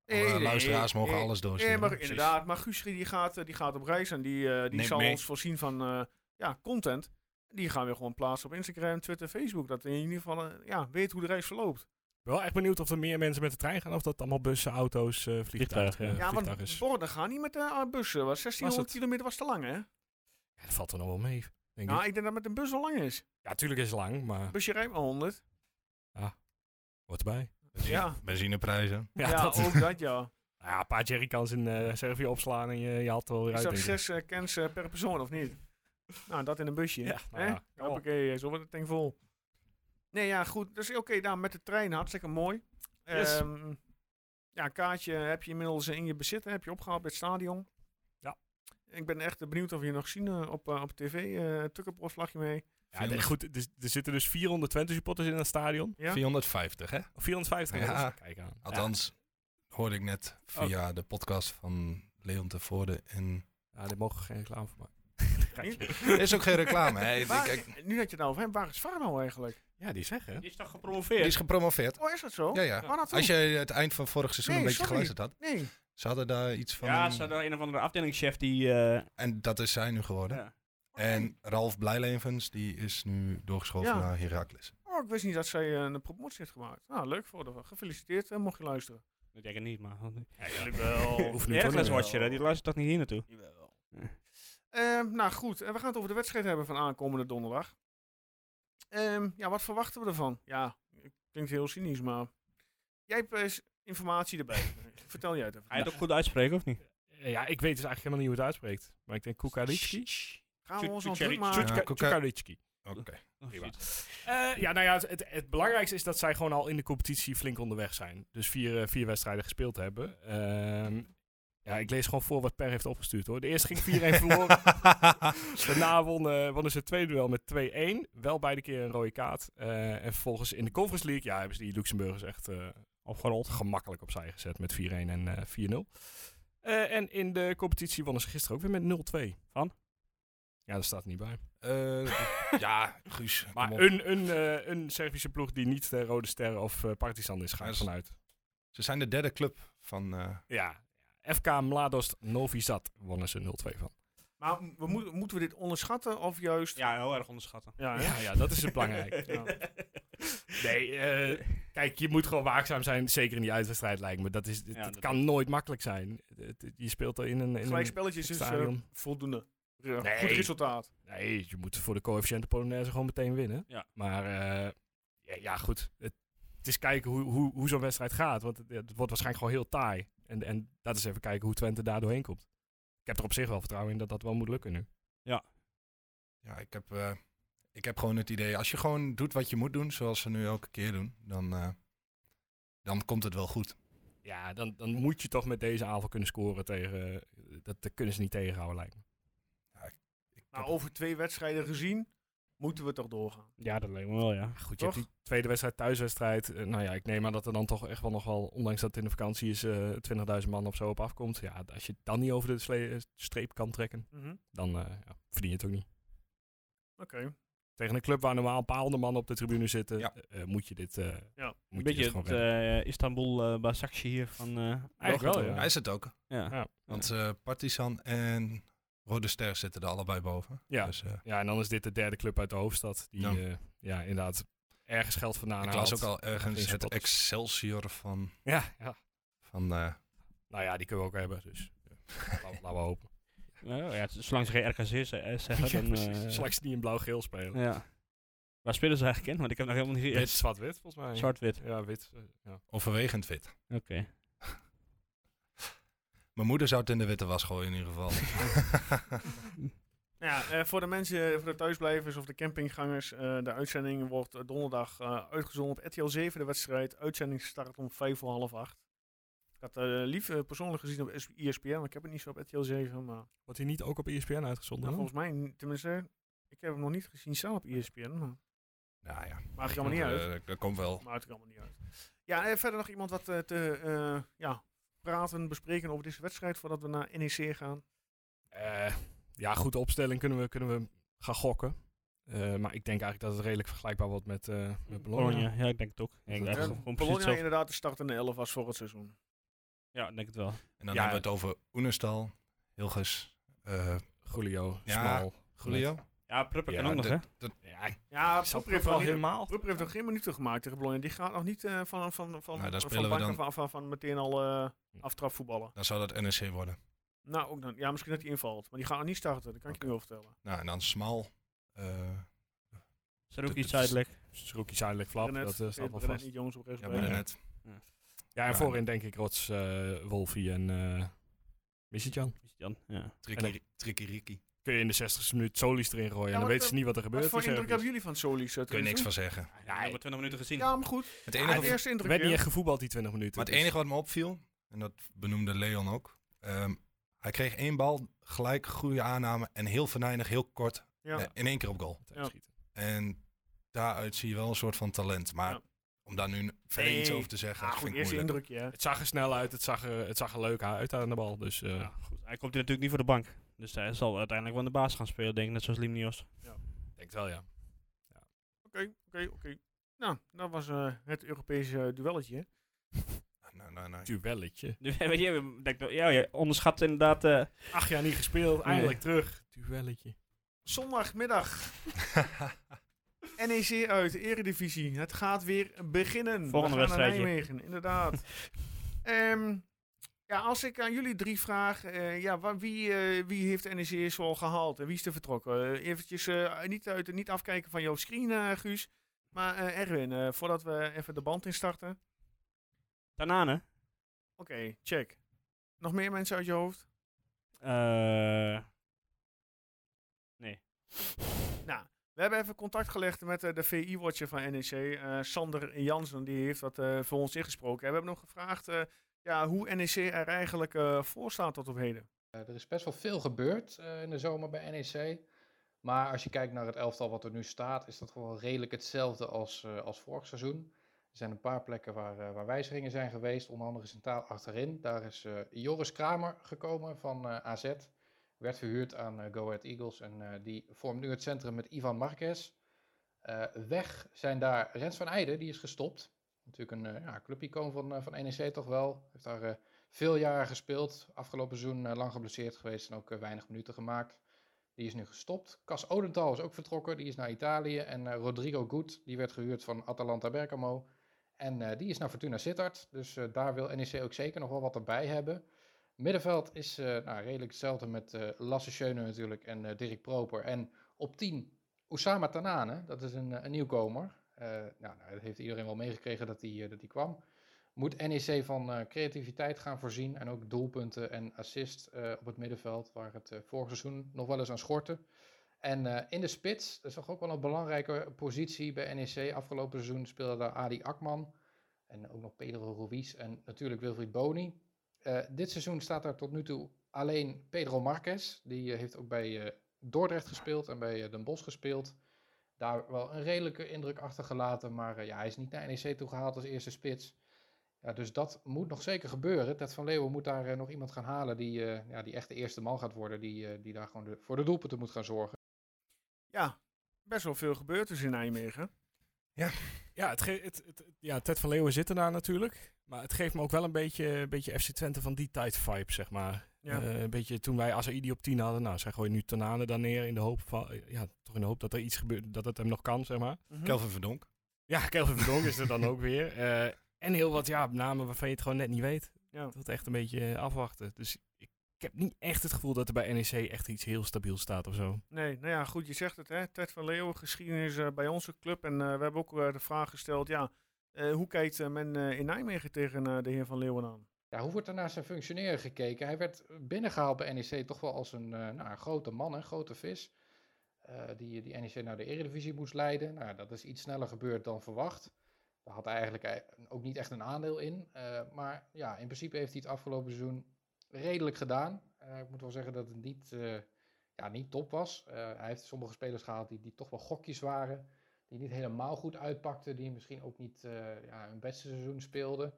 S1: Nee,
S5: Alle
S1: nee,
S5: luisteraars mogen
S1: nee.
S5: alles doorsturen.
S1: Nee, eh, maar
S5: Precies.
S1: inderdaad. Maar Guus die gaat, eh, die gaat op reis en die, eh, die
S5: Neemt
S1: zal
S5: mee.
S1: ons voorzien van eh, ja, content. Die gaan we gewoon plaatsen op Instagram, Twitter, Facebook. Dat in ieder geval eh, ja, weet hoe de reis verloopt.
S4: Ik ben wel echt benieuwd of er meer mensen met de trein gaan of dat allemaal bussen, auto's, eh vliegtuigen,
S6: Vliegtuig, ja.
S4: eh,
S1: ja,
S4: vliegtuig
S1: want
S4: is.
S1: borden gaan niet met de eh, bussen. Want 1600
S4: het?
S1: kilometer was te lang, hè?
S4: Ja, dat valt er nog wel mee, denk
S1: Nou,
S4: ik.
S1: ik denk dat met een bus wel lang is.
S4: Ja, tuurlijk is het lang, maar
S1: Busje rijdt maar 100.
S4: hoort erbij.
S5: Benzine-
S1: Ja.
S5: Benzineprijzen.
S1: Ja,
S4: Ja, dat,
S1: ook dat, ja.
S4: ja, een paar jerrycans in eh, Servië opslaan en je, je had er wel weer
S1: Is
S4: uit,
S1: dat
S4: denk ik.
S1: zes eh, cans eh, per persoon, of niet? Nou, dat in een busje.
S4: Ja, nou
S1: Hè?
S4: ja, kom op.
S1: Hoppakee, zo wordt het ding vol. Nee, ja, goed. Dus oké, nou, met de trein hartstikke mooi.
S4: Yes.
S1: Ehm, ja, kaartje heb je inmiddels eh, in je bezit, hè, heb je opgehaald bij het stadion.
S4: Ja.
S1: Ik ben echt eh, benieuwd of we je nog zien eh, op, eh, op tv. eh Tukkenbrood vlagje mee.
S4: Ja, nee, goed, er, er zitten dus 420 supporters in het stadion.
S1: Ja.
S5: 450, hè?
S4: Of 450
S5: Ja.
S4: mensen. Kijk aan.
S5: Althans, hoorde ik net via de podcast van Leon Tevoorde. En...
S4: Ja, dit mogen we geen reclame voor maken.
S5: Er is ook geen reclame, hè? Ik-
S1: Waar-
S5: ik-
S1: Nu dat je het nou over hebt, waar is VAR nou eigenlijk?
S4: Ja, die zeggen.
S6: Die is toch
S5: die
S6: gepromoveerd?
S5: is gepromoveerd.
S1: Oh, is dat zo?
S5: Ja, ja.
S1: Waar naartoe?
S5: Als je het eind van vorig seizoen
S1: Nee,
S5: een beetje
S1: sorry.
S5: geluisterd had.
S1: Nee.
S5: Ze hadden daar iets van...
S6: Ja,
S5: een-
S6: ze hadden een of andere afdelingschef die... eh,
S5: En dat is zij nu geworden.
S6: ja.
S5: En Ralf Blijlevens, die is nu doorgeschoven
S1: Ja.
S5: naar Heracles.
S1: Oh, ik wist niet dat zij eh, een promotie heeft gemaakt. Nou, leuk voor de Gefeliciteerd, eh, mocht je luisteren.
S6: Dat denk ik niet, maar...
S1: Eigenlijk wel.
S4: Hoeft niet
S6: Heracles
S4: te doen.
S6: Watcher, hè, die luistert toch niet hier naartoe?
S1: Ehm, nou goed, en we gaan het over de wedstrijd hebben van aankomende donderdag. Ehm, ja, wat verwachten we ervan? Ja, klinkt heel cynisch, maar jij hebt eh, s- informatie erbij. Vertel jij het even. Nou,
S6: Hij het ook goed uitspreken, of niet?
S4: Ja, ik weet dus eigenlijk helemaal niet hoe het uitspreekt. Maar ik denk Kukalicki.
S1: Gaan we ons al
S6: Tjutjeri-
S1: druk maken?
S5: Tjutjeri- Ja, Kuka-
S4: Kukalicki.
S5: Oké.
S6: Oh,
S4: Prima. Eh, ja, nou ja, het, het, het belangrijkste is dat zij gewoon al in de competitie flink onderweg zijn. Dus vier, eh, vier wedstrijden gespeeld hebben. Ehm, ja, Ja, ik lees gewoon voor wat Per heeft opgestuurd hoor. De eerste ging 4-1 verloren. Daarna wonnen, wonnen ze het tweede duel met 2-1. Wel beide keer een rode kaart. Eh, en vervolgens in de Conference League ja, hebben ze die Luxemburgers echt eh, opgerold. Gemakkelijk opzij gezet met 4-1 en eh, 4-0. Eh, en in de competitie wonnen ze gisteren ook weer met 0-2. Van? Ja, daar staat er niet bij.
S5: Eh, ja, Guus. kom
S4: Maar
S5: op.
S4: een, een, eh, een Servische ploeg die niet de Rode Ster of eh, Partizan is, ga
S5: Ja,
S4: ik
S5: dat is-
S4: vanuit.
S5: Ze zijn de derde club van... eh,
S4: Ja. FK Mladost Novi Sad wonnen ze 0-2 van.
S1: Maar m- we moeten moeten we dit onderschatten of juist...
S6: Ja, heel erg onderschatten.
S1: Ja, hè?
S4: Ja, ja, dat is het belangrijk.
S1: Ja.
S4: Nee, eh, kijk, je moet gewoon waakzaam zijn, zeker in die uitwedstrijd lijkt me. Dat, is, het
S6: Ja,
S4: het
S6: dat-
S4: kan nooit makkelijk zijn. Het- het- je speelt al in een... In
S1: Gelijk
S4: een
S1: spelletjes is eh,
S4: stadion.
S1: voldoende. Ja,
S4: Nee.
S1: Goed resultaat.
S4: nee, je moet voor de coëfficiënte Polonaise gewoon meteen winnen.
S6: Ja.
S4: Maar eh, ja, ja, goed. Het, het is kijken hoe, hoe, hoe zo'n wedstrijd gaat. Want het, het wordt waarschijnlijk gewoon heel taai. En, en dat is even kijken hoe Twente daar doorheen komt. Ik heb er op zich wel vertrouwen in dat dat wel moet lukken nu.
S5: ja, ik heb, eh, ik heb gewoon het idee, als je gewoon doet wat je moet doen, zoals ze nu elke keer doen, dan, eh, dan komt het wel goed.
S4: Ja, dan, dan moet je toch met deze aanval kunnen scoren tegen... eh, dat, dat kunnen ze niet tegenhouden, lijkt me.
S5: Ik
S1: Nou,
S5: heb-
S1: over twee wedstrijden gezien, moeten we toch doorgaan.
S6: Ja, dat lijkt me wel, ja.
S4: Goed, je hebt
S1: Toch?
S4: die tweede wedstrijd, thuiswedstrijd. Eh, nou ja, ik neem aan dat er dan toch echt wel nog wel, ondanks dat het in de vakantie is, eh 20.000 man of zo op afkomt. Ja, als je het dan niet over de sle- eh, streep kan trekken, dan eh, ja, verdien je het ook niet.
S1: Mhm, Oké.
S4: Tegen een club waar normaal een paar honderd man op de tribune zitten,
S5: Ja.
S4: eh, eh, moet je dit, eh,
S1: Ja.
S4: moet
S6: Een
S4: je
S6: beetje
S4: dit gewoon
S6: het
S4: redden.
S6: eh, Istanbul eh Basakci hier van... eh
S4: Eigenlijk wel,
S6: België.
S5: Hij is het ook.
S6: Ja.
S4: Ja.
S5: Want eh Partizan en Rode Ster zitten er allebei boven.
S4: Ja.
S5: Dus, eh,
S4: ja, en dan is dit de derde club uit de hoofdstad die
S5: Ja.
S4: ja, ja inderdaad ergens geld vandaan
S5: ik
S4: haalt.
S5: las ook al ergens
S4: Geen
S5: het
S4: spotters.
S5: Excelsior van...
S4: Ja, ja,
S5: van eh,
S4: nou ja, die kunnen we ook hebben, dus laten we- laten we hopen.
S6: Nou, ja, zolang ze geen RKC is, eh, zeggen,
S4: Ja,
S6: dan...
S4: precies.
S6: eh,
S4: Zolang ze niet in blauw-geel spelen.
S6: ja. Waar spelen ze eigenlijk in? Want ik heb nog helemaal niet...
S4: Wit,
S6: gezien. Eh,
S4: zwart-wit volgens mij.
S6: Zwart-wit.
S4: Ja, wit. eh, ja.
S5: overwegend wit.
S6: Oké.
S5: Mijn moeder zou het in de witte was gooien in ieder geval.
S1: Nou ja, eh, voor de mensen, voor de thuisblijvers of de campinggangers, eh, de uitzending wordt eh, donderdag eh, uitgezonden op RTL 7, de wedstrijd. Uitzending start om vijf voor half acht. Ik had eh lief eh, persoonlijk gezien op E ESPN, maar ik heb het niet zo op RTL 7. Maar
S4: Wordt hij niet ook op ESPN uitgezonden?
S1: nou,
S4: dan?
S1: volgens mij, n- tenminste, ik heb hem nog niet gezien staan op E ESPN. Maar
S5: nou ja.
S1: maakt allemaal niet uit.
S5: Eh, dat komt wel.
S1: Maakt allemaal niet uit. Ja, en verder nog iemand wat eh, te eh, ja, praten, bespreken over deze wedstrijd voordat we naar NEC gaan.
S4: Eh, ja, goede opstelling kunnen we, kunnen we gaan gokken. Eh, maar ik denk eigenlijk dat het redelijk vergelijkbaar wordt met, eh met Bologna.
S6: Bologna. Ja, ik denk het ook. Ja, ik
S4: Ja,
S6: denk
S1: Eh,
S6: het gewoon precies
S1: Bologna
S6: hetzelfde.
S1: inderdaad de start in de 11 was voor het seizoen.
S6: Ja, ik denk het wel.
S5: En dan
S4: Ja.
S5: hebben we het over Oenerstal, Hilgers, eh
S4: Julio,
S5: Ja,
S4: Smal,
S5: Julio.
S6: Ja, Pruppen
S5: Ja,
S6: kan ook nog,
S5: dat-
S6: hè?
S5: dat-
S4: Ja, ik
S1: Ja,
S4: snap
S1: Proper heeft
S4: wel
S1: nog niet-
S4: helemaal.
S1: Proper heeft nog geen minuten gemaakt tegen Bologna. Die gaat nog niet eh, van, van, van,
S5: Nou, daar
S1: van,
S5: spelen we
S1: banken
S5: dan.
S1: van, van, van meteen al eh aftrap voetballen.
S5: dan zou dat NEC worden.
S1: Nou, ook dan, ja, misschien dat hij invalt. Maar die gaat nog niet starten, dat kan ik je nu wel vertellen.
S5: Nou, en dan Smal. eh,
S6: Is er ook
S5: dat-
S6: iets
S5: dat-
S6: zuidelijk?
S4: Sroekie Zuidelijk Flap,
S1: Brenet,
S4: dat eh, staat
S1: Peter
S4: wel
S1: Brenet
S4: vast.
S1: niet jongens op rechts.
S5: ja,
S1: brein.
S5: maar net.
S4: Ja, en
S5: Ja.
S4: voorin denk ik Rots, eh, Wolfie en eh Misitjan.
S6: Jan, ja.
S5: Trikki- Trikkiriki.
S4: Kun je in de 60ste minuut Solis erin gooien
S1: Ja,
S4: en dan
S1: wat,
S4: weten
S1: eh,
S4: ze niet wat er gebeurt.
S1: Wat voor
S4: Dus, eh,
S1: indruk hebben jullie van Solis? eh,
S5: Kun je niks
S1: Twente?
S5: van zeggen.
S6: Ja, ik heb maar 20 minuten gezien.
S1: Ja, maar goed.
S5: Het
S1: Ja,
S5: enige
S1: de eerste
S4: Er
S1: indruk.
S4: werd niet
S1: hè?
S4: echt gevoetbald die 20 minuten.
S5: Maar het
S4: dus-
S5: enige wat me opviel, en dat benoemde Leon ook. ehm, hij kreeg één bal, gelijk goede aanname en heel venijnig, heel kort.
S1: Ja.
S5: eh, in één keer op goal.
S4: Meteen
S1: Ja.
S4: schieten.
S5: En daaruit zie je wel een soort van talent. Maar
S1: Ja.
S5: om daar nu verder iets
S1: Nee.
S5: over te zeggen,
S1: Ah, goed,
S5: vind ik
S1: eerste
S5: moeilijk.
S1: indrukje. hè.
S4: Het zag er snel uit, het zag er, het zag er leuk uit aan de bal. Dus eh,
S6: Ja, goed. Hij komt hier natuurlijk niet voor de bank. Dus hij zal uiteindelijk wel in de baas gaan spelen, denk ik. Net zoals Limnios.
S4: ik denk wel ja.
S1: Oké, oké, oké. Nou, dat was eh, het Europese duelletje.
S5: Nou, nou,
S1: Hm?
S5: nou.
S4: Duelletje.
S6: Weet je, ik denk, dat- ja, je onderschat inderdaad... eh,
S4: Acht jaar niet gespeeld, eindelijk terug. Duelletje.
S1: Zondagmiddag, NEC uit, Eredivisie. Het gaat weer beginnen.
S6: Volgende
S1: We gaan naar
S6: wedstrijdje.
S1: Nijmegen, inderdaad. Ehm, ja, als ik aan jullie drie vraag, eh, ja, wa- wie, eh, wie heeft NEC zoal gehaald en wie is er vertrokken? Even eventjes eh, niet, uit, niet afkijken van jouw screen, eh, Guus. Maar eh, Erwin, eh, voordat we even de band instarten.
S6: Tanane.
S1: Oké, check. Nog meer mensen uit je hoofd?
S6: Eh,
S1: Nou, we hebben even contact gelegd met eh, de VI-watcher van NEC, eh, Sander Jansen. Die heeft dat eh, voor ons ingesproken. En we hebben hem gevraagd eh, ja, hoe NEC er eigenlijk eh, voor staat tot op heden.
S7: Eh, er is best wel veel gebeurd eh, in de zomer bij NEC. Maar als je kijkt naar het elftal wat er nu staat, is dat gewoon redelijk hetzelfde als, eh, als vorig seizoen. Er zijn een paar plekken waar, eh, waar wijzigingen zijn geweest, onder andere centraal achterin. Daar is eh, Joris Kramer gekomen van eh, AZ. Werd verhuurd aan eh, Go Ahead Eagles en eh, die vormt nu het centrum met Ivan Marquez. Eh, weg zijn daar Rens van Eijden, die is gestopt. Natuurlijk een eh ja, clubicoon van, eh, van NEC toch wel. Heeft daar eh, veel jaren gespeeld. Afgelopen seizoen eh, lang geblesseerd geweest en ook eh, weinig minuten gemaakt. Die is nu gestopt. Cas Odental is ook vertrokken. Die is naar Italië. En eh, Rodrigo Goed, die werd gehuurd van Atalanta Bergamo. En eh, die is naar Fortuna Sittard. Dus eh, daar wil NEC ook zeker nog wel wat erbij hebben. Middenveld is eh, nou, redelijk hetzelfde met eh Lasse Schöne natuurlijk en eh Dirk Proper. En op 10 Oussama Tanane. Dat is een, eh, een nieuwkomer. Eh, nou, nou, dat heeft iedereen wel meegekregen dat die, eh, dat die kwam moet NEC van eh, creativiteit gaan voorzien en ook doelpunten en assist eh, op het middenveld, waar het eh, vorig seizoen nog wel eens aan schortte. En eh, in de spits, dat is toch ook wel een belangrijke positie bij NEC. Afgelopen seizoen speelde daar Adi Akman en ook nog Pedro Ruiz en natuurlijk Wilfried Boni. Eh, dit seizoen staat daar tot nu toe alleen Pedro Marquez. Die eh, heeft ook bij eh, Dordrecht gespeeld en bij eh, Den Bosch gespeeld. Daar wel een redelijke indruk achtergelaten, maar eh, ja, hij is niet naar NEC toe gehaald als eerste spits. Ja, dus dat moet nog zeker gebeuren. Ted van Leeuwen moet daar eh, nog iemand gaan halen die, eh, ja, die echt de eerste man gaat worden. Die, eh, die daar gewoon de- voor de doelpunten moet gaan zorgen.
S1: Ja, best wel veel gebeurd dus in Nijmegen.
S4: Ja, het ge- het, het, het- ja, Ted van Leeuwen zit ernaar natuurlijk. Maar het geeft me ook wel een beetje, een beetje FC Twente van die tijd vibe, zeg maar.
S1: Ja.
S4: Eh, een beetje toen wij Asaidi op 10 hadden. Nou, zij gooien nu Tanane daar neer in de hoop van... eh, Ja, toch in de hoop dat er iets gebeurt, dat het hem nog kan, zeg maar.
S1: Mhm.
S5: Kelvin Verdonk.
S4: Ja, Kelvin Verdonk is er dan ook weer. Eh, en heel wat ja, namen waarvan je het gewoon net niet weet.
S1: Ja.
S4: Dat echt een beetje eh, afwachten. Dus ik, ik heb niet echt het gevoel dat er bij NEC echt iets heel stabiel staat of zo.
S1: Nee, nou ja, goed, je zegt het, hè. Ted van Leeuwen, geschiedenis eh, bij onze club. En eh, we hebben ook eh, de vraag gesteld, ja, eh, hoe kijkt eh, men eh, in Nijmegen tegen eh, de heer van Leeuwen aan?
S7: Ja, hoe wordt er naar zijn functioneren gekeken? Hij werd binnengehaald bij NEC toch wel als een, eh, nou, een grote man, een grote vis. eh, die, die NEC naar de Eredivisie moest leiden. Nou, dat is iets sneller gebeurd dan verwacht. Daar had hij eigenlijk ei- ook niet echt een aandeel in. eh, maar ja, in principe heeft hij het afgelopen seizoen redelijk gedaan. Eh, ik moet wel zeggen dat het niet, eh, ja, niet top was. Eh, hij heeft sommige spelers gehaald die, die toch wel gokjes waren. Die niet helemaal goed uitpakten. Die misschien ook niet eh, ja, hun beste seizoen speelden.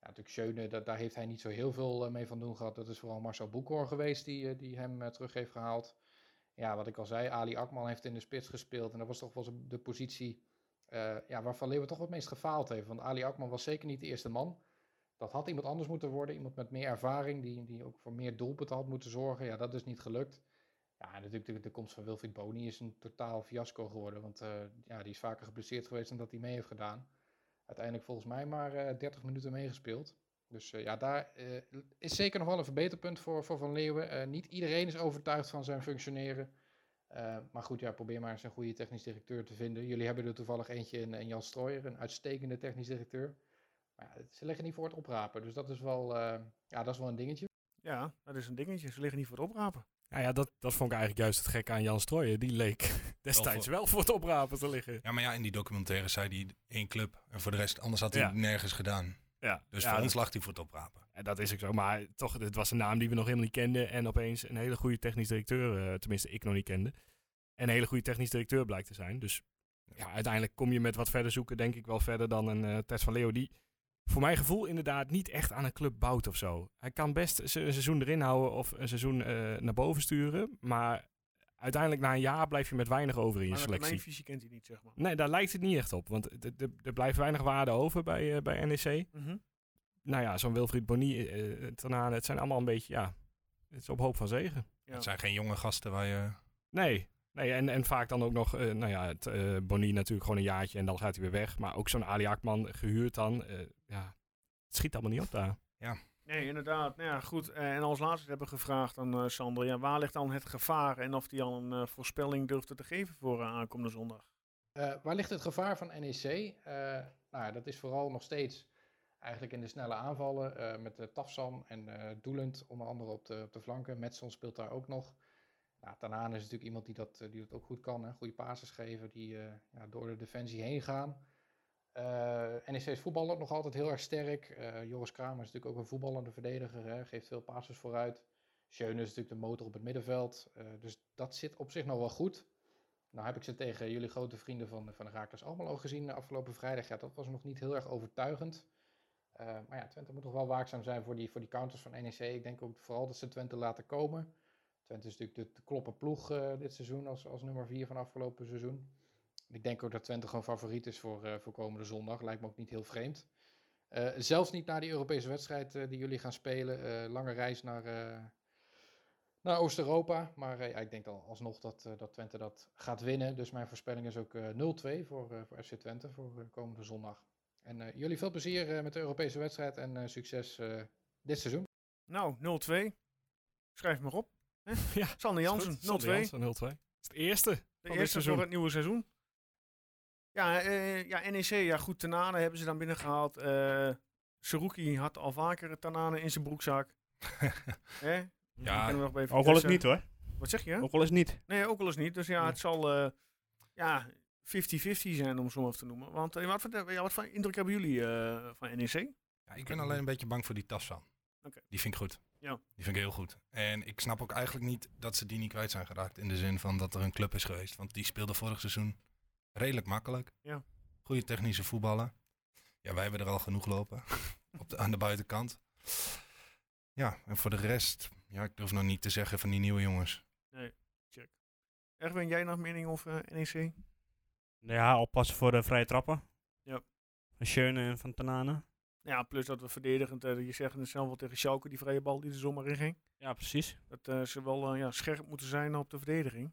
S7: Ja, natuurlijk Schöne, da- daar heeft hij niet zo heel veel eh, mee van doen gehad. Dat is vooral Marcel Boekhorn geweest die, eh, die hem eh, terug heeft gehaald. Ja, wat ik al zei, Ali Akman heeft in de spits gespeeld. En dat was toch wel zo- de positie eh ja, waarvan Leeuwen toch wel het meest gefaald heeft. Want Ali Akman was zeker niet de eerste man. Dat had iemand anders moeten worden. Iemand met meer ervaring, die, die ook voor meer doelpunten had moeten zorgen. Ja, dat is niet gelukt. Ja, en natuurlijk de, de komst van Wilfried Boni is een totaal fiasco geworden. Want eh, ja, die is vaker geblesseerd geweest dan dat hij mee heeft gedaan uiteindelijk volgens mij maar eh, 30 minuten meegespeeld. Dus eh, ja, daar eh, is zeker nog wel een verbeterpunt voor, voor Van Leeuwen. Eh, niet iedereen is overtuigd van zijn functioneren. Eh, maar goed, ja, probeer maar eens een goede technisch directeur te vinden. Jullie hebben er toevallig eentje in, in Jan Strooijer, een uitstekende technisch directeur. Maar ja, ze leggen niet voor het oprapen, dus dat is wel, eh, ja, dat is wel een dingetje.
S1: Ja, dat is een dingetje. Ze liggen niet voor het oprapen.
S4: Nou ja, dat, dat vond ik eigenlijk juist het gekke aan Jan Strooijen. Die leek destijds
S5: voor-
S4: wel voor het oprapen te liggen.
S5: Ja, maar ja, in die documentaire zei hij één club. En voor de rest, anders had hij
S4: Ja.
S5: het nergens gedaan.
S4: Ja,
S5: Dus
S4: ja,
S5: voor
S4: dat-
S5: ons lag hij voor het oprapen.
S4: En dat is ook zo. Maar toch, het was een naam die we nog helemaal niet kenden. En opeens een hele goede technisch directeur, eh, tenminste ik nog niet kende. En een hele goede technisch directeur blijkt te zijn. Dus ja, uiteindelijk kom je met wat verder zoeken, denk ik wel verder dan een eh Tess van Leeuw. Die voor mijn gevoel inderdaad niet echt aan een club bouwt of zo. Hij kan best ze- een seizoen erin houden of een seizoen eh, naar boven sturen. Maar uiteindelijk na een jaar blijf je met weinig over in je
S1: Maar mijn
S4: selectie.
S1: visie kent hij niet, zeg maar.
S4: Nee, daar lijkt het niet echt op. Want er- er- er blijft weinig waarde over bij, eh, bij NEC
S1: Mhm.
S4: nou ja, zo'n Wilfried Boni, eh eh, Tanane, het zijn allemaal een beetje, ja, het is op hoop van zegen.
S1: Ja.
S5: Het zijn geen jonge gasten waar je...
S4: Nee, nee en, en vaak dan ook nog, eh, nou ja, het, eh, Boni natuurlijk gewoon een jaartje en dan gaat hij weer weg. Maar ook zo'n Ali Akman gehuurd dan, eh, ja, het schiet allemaal niet op daar.
S1: Nee, inderdaad. Nou ja, goed. Eh, en als laatste hebben we gevraagd aan eh, Sander, ja, waar ligt dan het gevaar en of hij al een eh, voorspelling durfde te geven voor eh, aankomende zondag?
S7: Eh, waar ligt het gevaar van NEC? Eh, nou, ja, dat is vooral nog steeds eigenlijk in de snelle aanvallen eh, met eh, Tafsam en eh Doelend onder andere op de, op de flanken. Metson speelt daar ook nog. Nou, Tanaan is natuurlijk iemand die dat, eh, die dat ook goed kan. Hè? Goede passes geven, die eh, ja, door de defensie heen gaan. Eh, Eh, NEC is voetballend nog altijd heel erg sterk. Eh, Joris Kramer is natuurlijk ook een voetballende verdediger. Hè, geeft veel passes vooruit. Schöne is natuurlijk de motor op het middenveld. Eh, dus dat zit op zich nog wel goed. Nou heb ik ze tegen jullie grote vrienden van, van Raakles Almelo gezien de afgelopen vrijdag. Ja, dat was nog niet heel erg overtuigend. Eh, maar ja, Twente moet toch wel waakzaam zijn voor die, voor die counters van NEC. Ik denk ook vooral dat ze Twente laten komen. Twente is natuurlijk de, de kloppen ploeg eh, dit seizoen als, als nummer 4 van afgelopen seizoen. Ik denk ook dat Twente gewoon favoriet is voor, eh, voor komende zondag. Lijkt me ook niet heel vreemd. Eh, zelfs niet na die Europese wedstrijd eh, die jullie gaan spelen. Eh, lange reis naar, eh, naar Oost-Europa. Maar eh, ja, ik denk dan alsnog dat, eh, dat Twente dat gaat winnen. Dus mijn voorspelling is ook eh, 0-2 voor, eh, voor FC Twente voor eh, komende zondag. En eh, jullie veel plezier eh, met de Europese wedstrijd en eh, succes eh, dit seizoen.
S1: Nou, 0-2. Schrijf maar op.
S4: ja,
S1: Sander Jansen, 0-2.
S4: 0-2. Jansen, 0-2. Dat is het eerste.
S1: De
S4: dit
S1: eerste
S4: seizoen.
S1: voor het nieuwe seizoen. Ja, eh, ja NEC, ja goed, Tanane hebben ze dan binnengehaald. Eh Saruki had al vaker Tanane in zijn broekzak. Hè? Die kennen
S5: Ja,
S1: we nog bij
S6: Ook wel eens
S1: Vitesse.
S6: niet hoor.
S1: Wat zeg je?
S6: Ook wel eens niet.
S1: Nee, ook wel eens niet. Dus ja, het zal eh, ja, 50-50 zijn om het zo maar te noemen. Want eh, wat, voor, ja, wat voor indruk hebben jullie eh, van NEC?
S5: ja, ik ben alleen een beetje bang voor die Tassan.
S1: Oké.
S5: Die vind ik goed.
S1: Ja.
S5: Die vind ik heel goed. En ik snap ook eigenlijk niet dat ze die niet kwijt zijn geraakt. In de zin van dat er een club is geweest. Want die speelde vorig seizoen redelijk makkelijk.
S1: Ja.
S5: Goede technische voetballen. Ja, wij hebben er al genoeg lopen. Op de, aan de buitenkant. Ja, en voor de rest. Ja, ik durf nog niet te zeggen van die nieuwe jongens.
S1: Erwin, jij nog mening over eh, NEC?
S6: Nou Ja, oppassen voor de vrije trappen.
S1: Ja.
S6: Van Schöne en van Tanane.
S1: Ja, plus dat we verdedigend, eh, je zegt het zelf wel tegen Schalke, die vrije bal die er zomaar in ging.
S6: Ja, precies.
S1: Dat eh, ze wel eh, ja, scherp moeten zijn op de verdediging.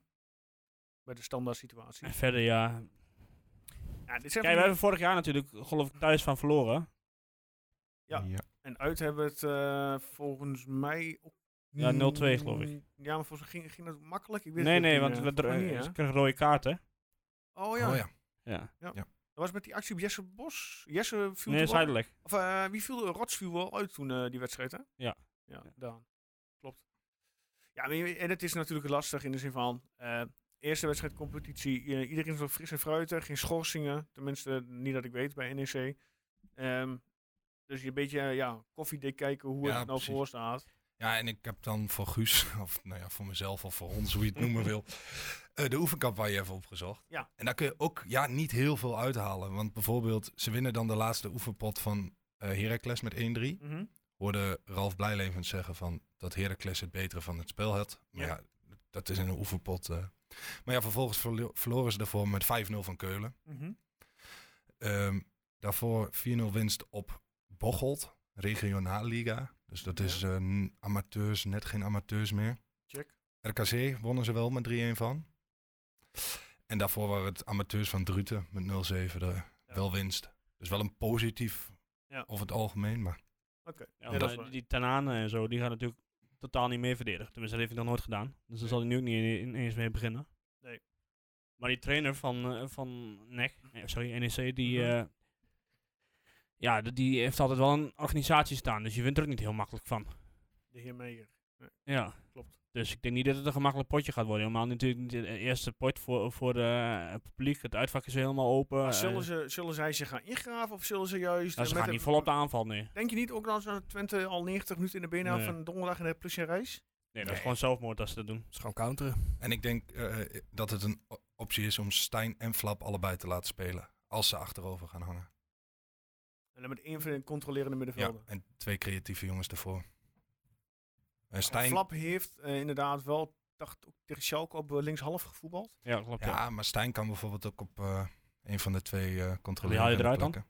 S1: Bij de standaard situatie.
S6: En verder ja.
S1: Ja, dit zijn
S6: Kijk, we
S1: van die-
S6: hebben vorig jaar natuurlijk geloof ik thuis van verloren.
S1: Ja. En uit hebben we het eh, volgens mij... Ook
S6: Ja, 0-2
S1: Mm,
S6: geloof ik.
S1: Ja, maar volgens mij ging, ging dat makkelijk. Ik weet
S6: Nee,
S1: het
S6: nee,
S1: niet,
S6: want
S1: eh,
S6: we
S1: volgens mij
S6: dro-
S1: niet,
S6: ze
S1: hè?
S6: kregen rode kaarten.
S1: Oh ja.
S5: Oh ja.
S6: Ja.
S1: Dat was met die actie op Jesse Bos. Jesse viel
S6: Nee,
S1: toch wel-
S6: zuidelijk.
S1: Of eh, wie viel? Rots viel wel uit toen eh, die wedstrijd, hè?
S6: Ja.
S1: Ja, Daan. Klopt. Ja, maar je- en het is natuurlijk lastig in de zin van... eh, eerste wedstrijd competitie. eh, iedereen is wel fris en fruitig. Geen schorsingen. Tenminste, niet dat ik weet bij NEC. Ehm, dus je een beetje eh, ja, koffiedik kijken hoe
S5: Ja,
S1: het nou
S5: precies.
S1: voor staat.
S5: Ja, en ik heb dan voor Guus, of nou ja, voor mezelf of voor ons, hoe je het noemen wil, eh, de oefenkamp waar je even op gezocht.
S1: Ja.
S5: En daar kun je ook ja, niet heel veel uithalen. Want bijvoorbeeld, ze winnen dan de laatste oefenpot van eh Heracles met 1-3.
S1: Mhm.
S5: Hoorde Ralf Blijlevend zeggen van dat Heracles het betere van het spel had. Maar
S1: Ja.
S5: ja, dat is in een oefenpot. eh. Maar ja, vervolgens verlo- verloren ze daarvoor met 5-0 van Keulen.
S1: mhm.
S5: Ehm, daarvoor 4-0 winst op Bocholt, regionaal liga. Dus dat is eh, n- amateurs, net geen amateurs meer.
S1: Check.
S5: RKC wonnen ze wel met 3-1 van. En daarvoor waren het amateurs van Druten met 0-7 de, wel winst. Dus wel een positief
S1: Ja.
S5: over het algemeen. Maar
S6: Ja,
S1: dat
S6: maar
S1: is waar.
S6: die, die Tanane en zo, die gaan natuurlijk totaal niet meer verdedigen. Tenminste, dat heeft hij nog nooit gedaan. Dus daar zal hij nu ook niet in- ineens mee beginnen.
S1: Nee.
S6: Maar die trainer van, eh, van NEC, eh, sorry, NEC, die,
S1: Mhm.
S6: eh, ja, d- die heeft altijd wel een organisatie staan. Dus je wint er ook niet heel makkelijk van.
S1: De heer Meijer.
S6: Ja.
S1: Klopt.
S6: Dus ik denk niet dat het een gemakkelijk potje gaat worden. Helemaal natuurlijk niet het eerste pot voor, voor de, het publiek. Het uitvak is helemaal open.
S1: Maar
S6: eh,
S1: zullen, ze, zullen zij zich gaan ingraven of zullen ze juist... eh,
S6: nou, ze
S1: met
S6: gaan
S1: een-
S6: niet vol op de aanval nu.
S1: Denk je niet ook dat ze Twente al 90 minuten in de benen hebben
S6: Nee.
S1: van donderdag en de plus in reis?
S6: Nee, dat
S5: Nee.
S6: is gewoon zelfmoord als ze dat doen.
S4: is gewoon counteren.
S5: En ik denk eh, dat het een o- optie is om Stijn en Flap allebei te laten spelen. Als ze achterover gaan hangen.
S1: En dan met één van de controlerende
S5: Ja,
S1: middenvelden.
S5: en twee creatieve jongens ervoor. En
S1: En
S5: Stijn,
S1: Flap heeft eh, inderdaad wel, dacht ook tegen Schalke op eh, linkshalf gevoetbald.
S6: Ja, klopt. ja.
S5: Ja, maar Stijn kan bijvoorbeeld ook op eh, een van de twee eh controleren.
S6: Wie haal je eruit dan?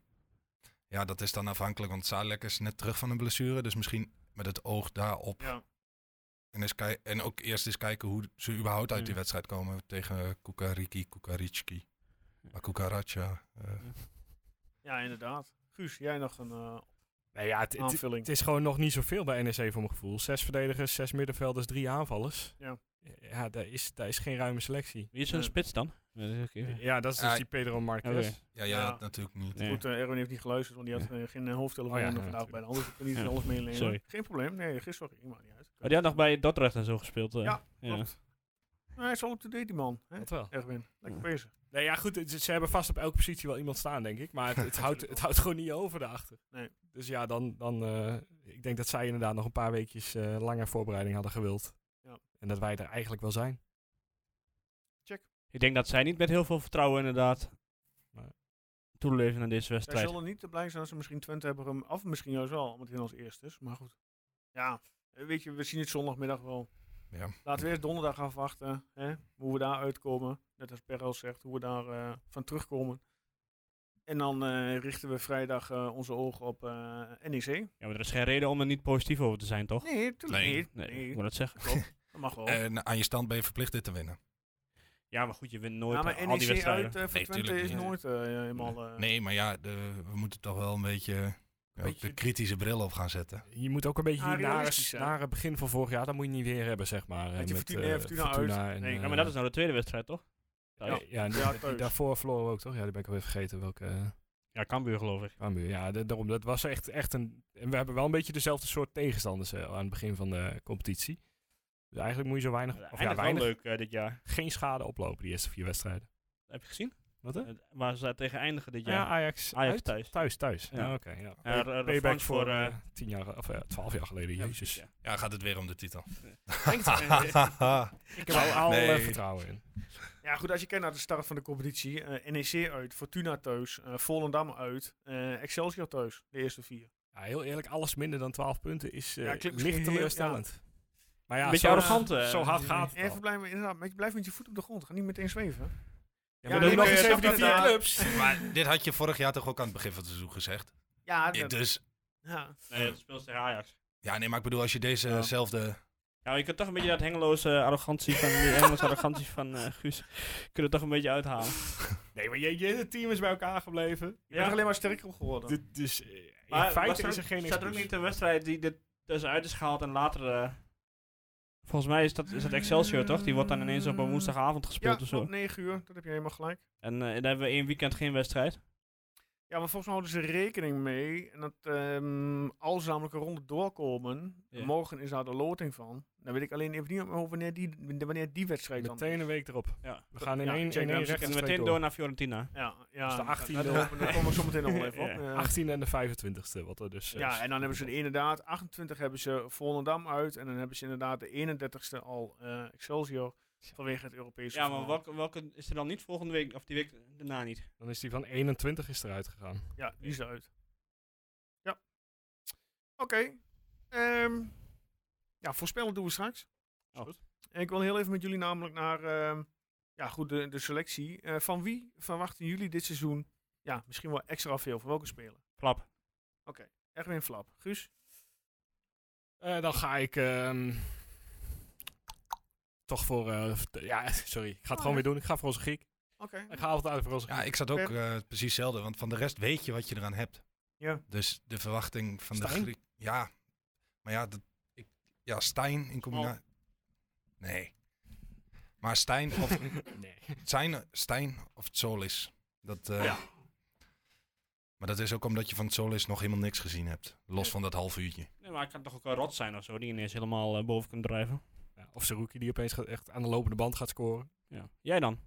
S5: Ja, dat is dan afhankelijk, want Zadelijk is net terug van een blessure. Dus misschien met het oog daarop.
S1: Ja.
S5: En, eens kij- en ook eerst eens kijken hoe ze überhaupt uit die
S6: Ja.
S5: wedstrijd komen tegen Kukariki, Kukaritski. Maar Kukaracha. eh,
S1: Ja, inderdaad. Guus, jij nog een eh,
S4: Nee, ja, het, het-
S1: aanvulling?
S4: het is gewoon nog niet zoveel bij NEC voor mijn gevoel. Zes verdedigers, zes middenvelders, drie aanvallers.
S1: Ja.
S4: Ja, daar is, daar is geen ruime selectie.
S6: Wie is zo'n
S1: Eh.
S6: spits dan? Ja, dat is ook even-
S4: Ja, dat is dus
S5: Ah,
S4: die Pedro Marquez.
S6: Oké.
S5: ja, jij
S1: Ja.
S5: had natuurlijk niet.
S6: Nee.
S1: Goed, eh, Erwin heeft niet geluisterd, want die had eh, geen eh, hoofdtelefoon
S4: Oh ja,
S1: eh,
S4: ja,
S1: vandaag bij de
S4: natuurlijk.
S1: hand. Dus ik kan niet
S6: Ja.
S1: alles meenemen.
S6: Sorry. Oh,
S1: Geen probleem. Nee, gisteren. Sorry, maakt niet uit.
S6: Maar die had nog bij Dordrecht en zo gespeeld. eh.
S1: Ja, klopt. Hij is wel op de date, die man. Hè?
S4: Dat wel.
S1: Erwin, lekker bezig.
S4: Nee, ja, goed. het- Ze hebben vast op elke positie wel iemand staan, denk ik. Maar het, het, houdt, het houdt gewoon niet over daarachter.
S1: Nee.
S4: Dus ja, dan, dan eh, ik denk dat zij inderdaad nog een paar weekjes eh, langer voorbereiding hadden gewild.
S1: Ja.
S4: En dat wij er eigenlijk wel zijn.
S6: Ik denk dat zij niet met heel veel vertrouwen inderdaad
S4: Nee.
S6: toeleven aan deze
S1: Zij
S6: wedstrijd.
S1: zullen niet te blij zijn als ze misschien Twente hebben hem af. Misschien juist wel, omdat hij als eerste is. Maar goed. Ja, eh, weet je, we zien het zondagmiddag wel.
S5: Ja.
S1: Laten we eerst donderdag afwachten. Hè? Hoe we daar uitkomen. Net als Perel zegt, hoe we daar eh, van terugkomen. En dan eh, richten we vrijdag eh, onze ogen op eh, NEC.
S6: Ja, maar er is geen reden om er niet positief over te zijn, toch?
S1: Nee, tuurlijk
S5: Nee. Eh,
S1: niet.
S6: Nee,
S1: Nee,
S6: ik moet dat zeggen.
S1: dat mag wel.
S5: En aan je stand ben je verplicht dit te winnen.
S6: Ja, maar goed, je wint nooit
S1: ja,
S6: al
S1: maar
S6: die
S1: NEC
S6: wedstrijden.
S1: uit eh, voor
S5: Nee,
S1: Twente
S5: tuurlijk
S1: is
S5: niet.
S1: nooit eh, helemaal... eh,
S5: Nee, maar ja, de- we moeten toch wel een beetje, eh, ook
S1: beetje-
S5: de kritische bril op gaan zetten.
S4: Je moet ook een beetje
S1: Ah,
S4: die nare,
S1: realistisch, hè?
S4: nare begin van vorig jaar, dat moet je niet weer hebben, zeg maar. eh,
S1: Met die Fortuna-
S4: eh,
S1: ja, Fortuna uit.
S4: en,
S1: Nee, ja,
S6: Ja, maar dat is nou de tweede wedstrijd, toch?
S4: eh, Ja, en die-
S1: Ja,
S4: die
S1: thuis.
S4: daarvoor verloren we ook, toch? Ja, die ben ik alweer vergeten welke... eh,
S6: Ja, Cambuur geloof ik.
S4: Cambuur, ja, da- daarom. Dat was echt, echt een. En we hebben wel een beetje dezelfde soort tegenstanders eh, aan het begin van de competitie. Dus eigenlijk moet je zo weinig. Of
S6: ja,
S4: ja, weinig.
S6: wel leuk eh, dit jaar.
S4: Geen schade oplopen, die eerste vier wedstrijden.
S6: Heb je gezien?
S4: Wat hè?
S6: Eh, Waar ze daar tegen eindigen dit
S4: Ja,
S6: jaar.
S4: Ajax.
S6: Ajax
S4: uit?
S6: thuis.
S4: Thuis, thuis.
S6: Ja.
S4: Ja, oké. ja.
S6: Ja,
S4: Pay-
S6: eh,
S4: Payback
S6: revanche
S4: voor,
S6: voor, eh,
S4: eh, tien jaar, of eh, twaalf jaar geleden. Jezus.
S5: Ja, gaat het weer om de titel.
S4: Ik heb er al eh,
S5: Nee.
S4: vertrouwen in.
S1: Ja, goed, als je kijkt naar de start van de competitie. eh, NEC uit, Fortuna thuis, eh, Volendam uit, eh, Excelsior thuis, de eerste vier.
S4: Ja, heel eerlijk, alles minder dan 12 punten is eh
S1: Ja, klinkt misschien
S4: licht
S1: heel-
S4: teleurstellend. Maar ja,
S6: Een beetje
S4: zo,
S6: arrogant, eh,
S4: zo hard gaat het.
S1: Even
S4: al.
S1: blijven, inderdaad, maar je blijft met je voet op de grond. Ga niet meteen zweven.
S4: Ja,
S1: Ja,
S4: maar doe
S1: nee,
S4: nog
S1: ik,
S4: eens
S1: eh,
S4: even die
S1: snap
S4: vier
S1: dat, eh,
S4: clubs.
S5: maar dit had je vorig jaar toch ook aan het begin van het seizoen gezegd?
S1: Ja,
S5: Ja,
S1: dat-
S5: dus,
S1: ja.
S6: Nee, dat speelt tegen Ajax.
S5: ja, nee, maar ik bedoel, als je dezezelfde...
S6: Ja, maar je kunt toch een beetje dat hengeloze arrogantie van, die hengeloze arrogantie van eh, Guus, kun je toch een beetje uithalen.
S4: Nee, maar je, je hele team is bij elkaar gebleven.
S1: Je bent alleen maar sterker geworden.
S4: Dit- Dus eh, in feite is er geen
S6: Staat er ook
S4: excuus.
S6: niet een wedstrijd die er tussenuit is gehaald en later... eh, volgens mij is dat, is dat Excelsior, toch? Die wordt dan ineens
S4: Eh,
S6: op een woensdagavond
S1: ja,
S6: gespeeld
S4: dus,
S6: of zo.
S1: op 9 uur, dat heb je helemaal gelijk.
S6: En eh, dan hebben we één weekend geen wedstrijd.
S1: Ja, maar volgens mij houden ze rekening mee en dat ehm als ze namelijk een ronde doorkomen,
S6: Ja.
S1: morgen is daar de loting van. Dan weet ik alleen even niet op- wanneer die, wanneer die wedstrijd dan
S4: Meteen een week erop.
S6: Ja.
S4: We gaan in
S1: Ja,
S4: één,
S1: check,
S4: in
S1: dan
S4: één
S1: zit
S6: En
S4: rechtstreeks
S6: meteen door
S4: door.
S6: naar Fiorentina.
S1: Ja, ja.
S4: Dus de 18e.
S1: Daar daar komen we zometeen nog wel even op.
S6: Ja.
S1: Eh,
S4: 18 en de 25e, wat er dus... eh,
S1: Ja,
S4: is.
S1: en dan hebben ze er inderdaad 28 hebben ze Volendam uit. En dan hebben ze inderdaad de 31ste al eh, Excelsior vanwege het Europese.
S6: Ja, maar
S1: verhaal.
S6: welke, welke is er dan niet volgende week, of die week daarna niet?
S4: Dan is die van 21 is eruit gegaan.
S1: Ja, die is eruit. Ja. Oké. Ehm, ja, voorspellen doen we straks.
S6: Oh.
S1: Goed. En ik wil heel even met jullie namelijk naar ehm, ja, goed, de, de selectie. Eh, van wie verwachten jullie dit seizoen ja, misschien wel extra veel? Van welke speler?
S6: Klap.
S1: Erwin Flap. Guus?
S4: Eh, dan ga ik... ehm, toch voor... eh, t- ja, sorry. Ik ga het
S1: Oh,
S4: gewoon
S1: ja.
S4: weer doen. Ik ga voor onze Griek.
S1: Oké.
S4: Ik ga altijd uit voor onze Griek.
S5: Ja, ik zat ook eh, precies hetzelfde, want van de rest weet je wat je eraan hebt.
S1: Ja.
S5: Dus de verwachting van de
S4: Stijn?
S5: Griek... Ja, maar ja, dat, ik, ja Stijn in
S4: Oh.
S5: combinatie... Nee. Maar Stijn of,
S4: Nee.
S5: Stijn, Stijn of Solis. Dat, eh,
S4: Ja.
S5: Maar dat is ook omdat je van Solis nog helemaal niks gezien hebt. Los van dat half uurtje.
S6: Nee, maar het kan toch ook een rot zijn of zo, die ineens helemaal eh, boven kunt drijven.
S4: Ja, of Saruki die opeens gaat, echt aan de lopende band gaat scoren.
S6: Ja. Jij dan?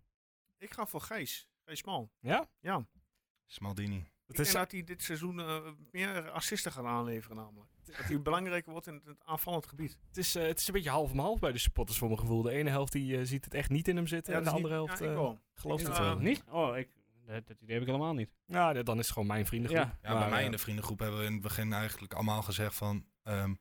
S1: Ik ga voor Gijs. Gijs Mal.
S4: Ja?
S1: Ja.
S5: Smaldini.
S1: Ik
S4: Het
S1: denk
S4: is,
S1: dat hij dit seizoen eh, meer assisten gaat aanleveren namelijk. Dat hij belangrijker wordt in het- het aanvallend gebied.
S4: het, is, eh, het is een beetje half om half bij de supporters voor mijn gevoel. De ene helft die eh, ziet het echt niet in hem zitten. en de andere helft eh, gelooft
S1: Ik,
S4: het
S1: eh,
S4: wel.
S6: Niet? Oh, ik, dat, dat idee heb ik helemaal niet.
S4: Ja, d- dan is het gewoon mijn vriendengroep.
S6: Ja.
S5: Ja, bij mij
S4: eh,
S5: in de vriendengroep hebben we in het begin eigenlijk allemaal gezegd van... ehm,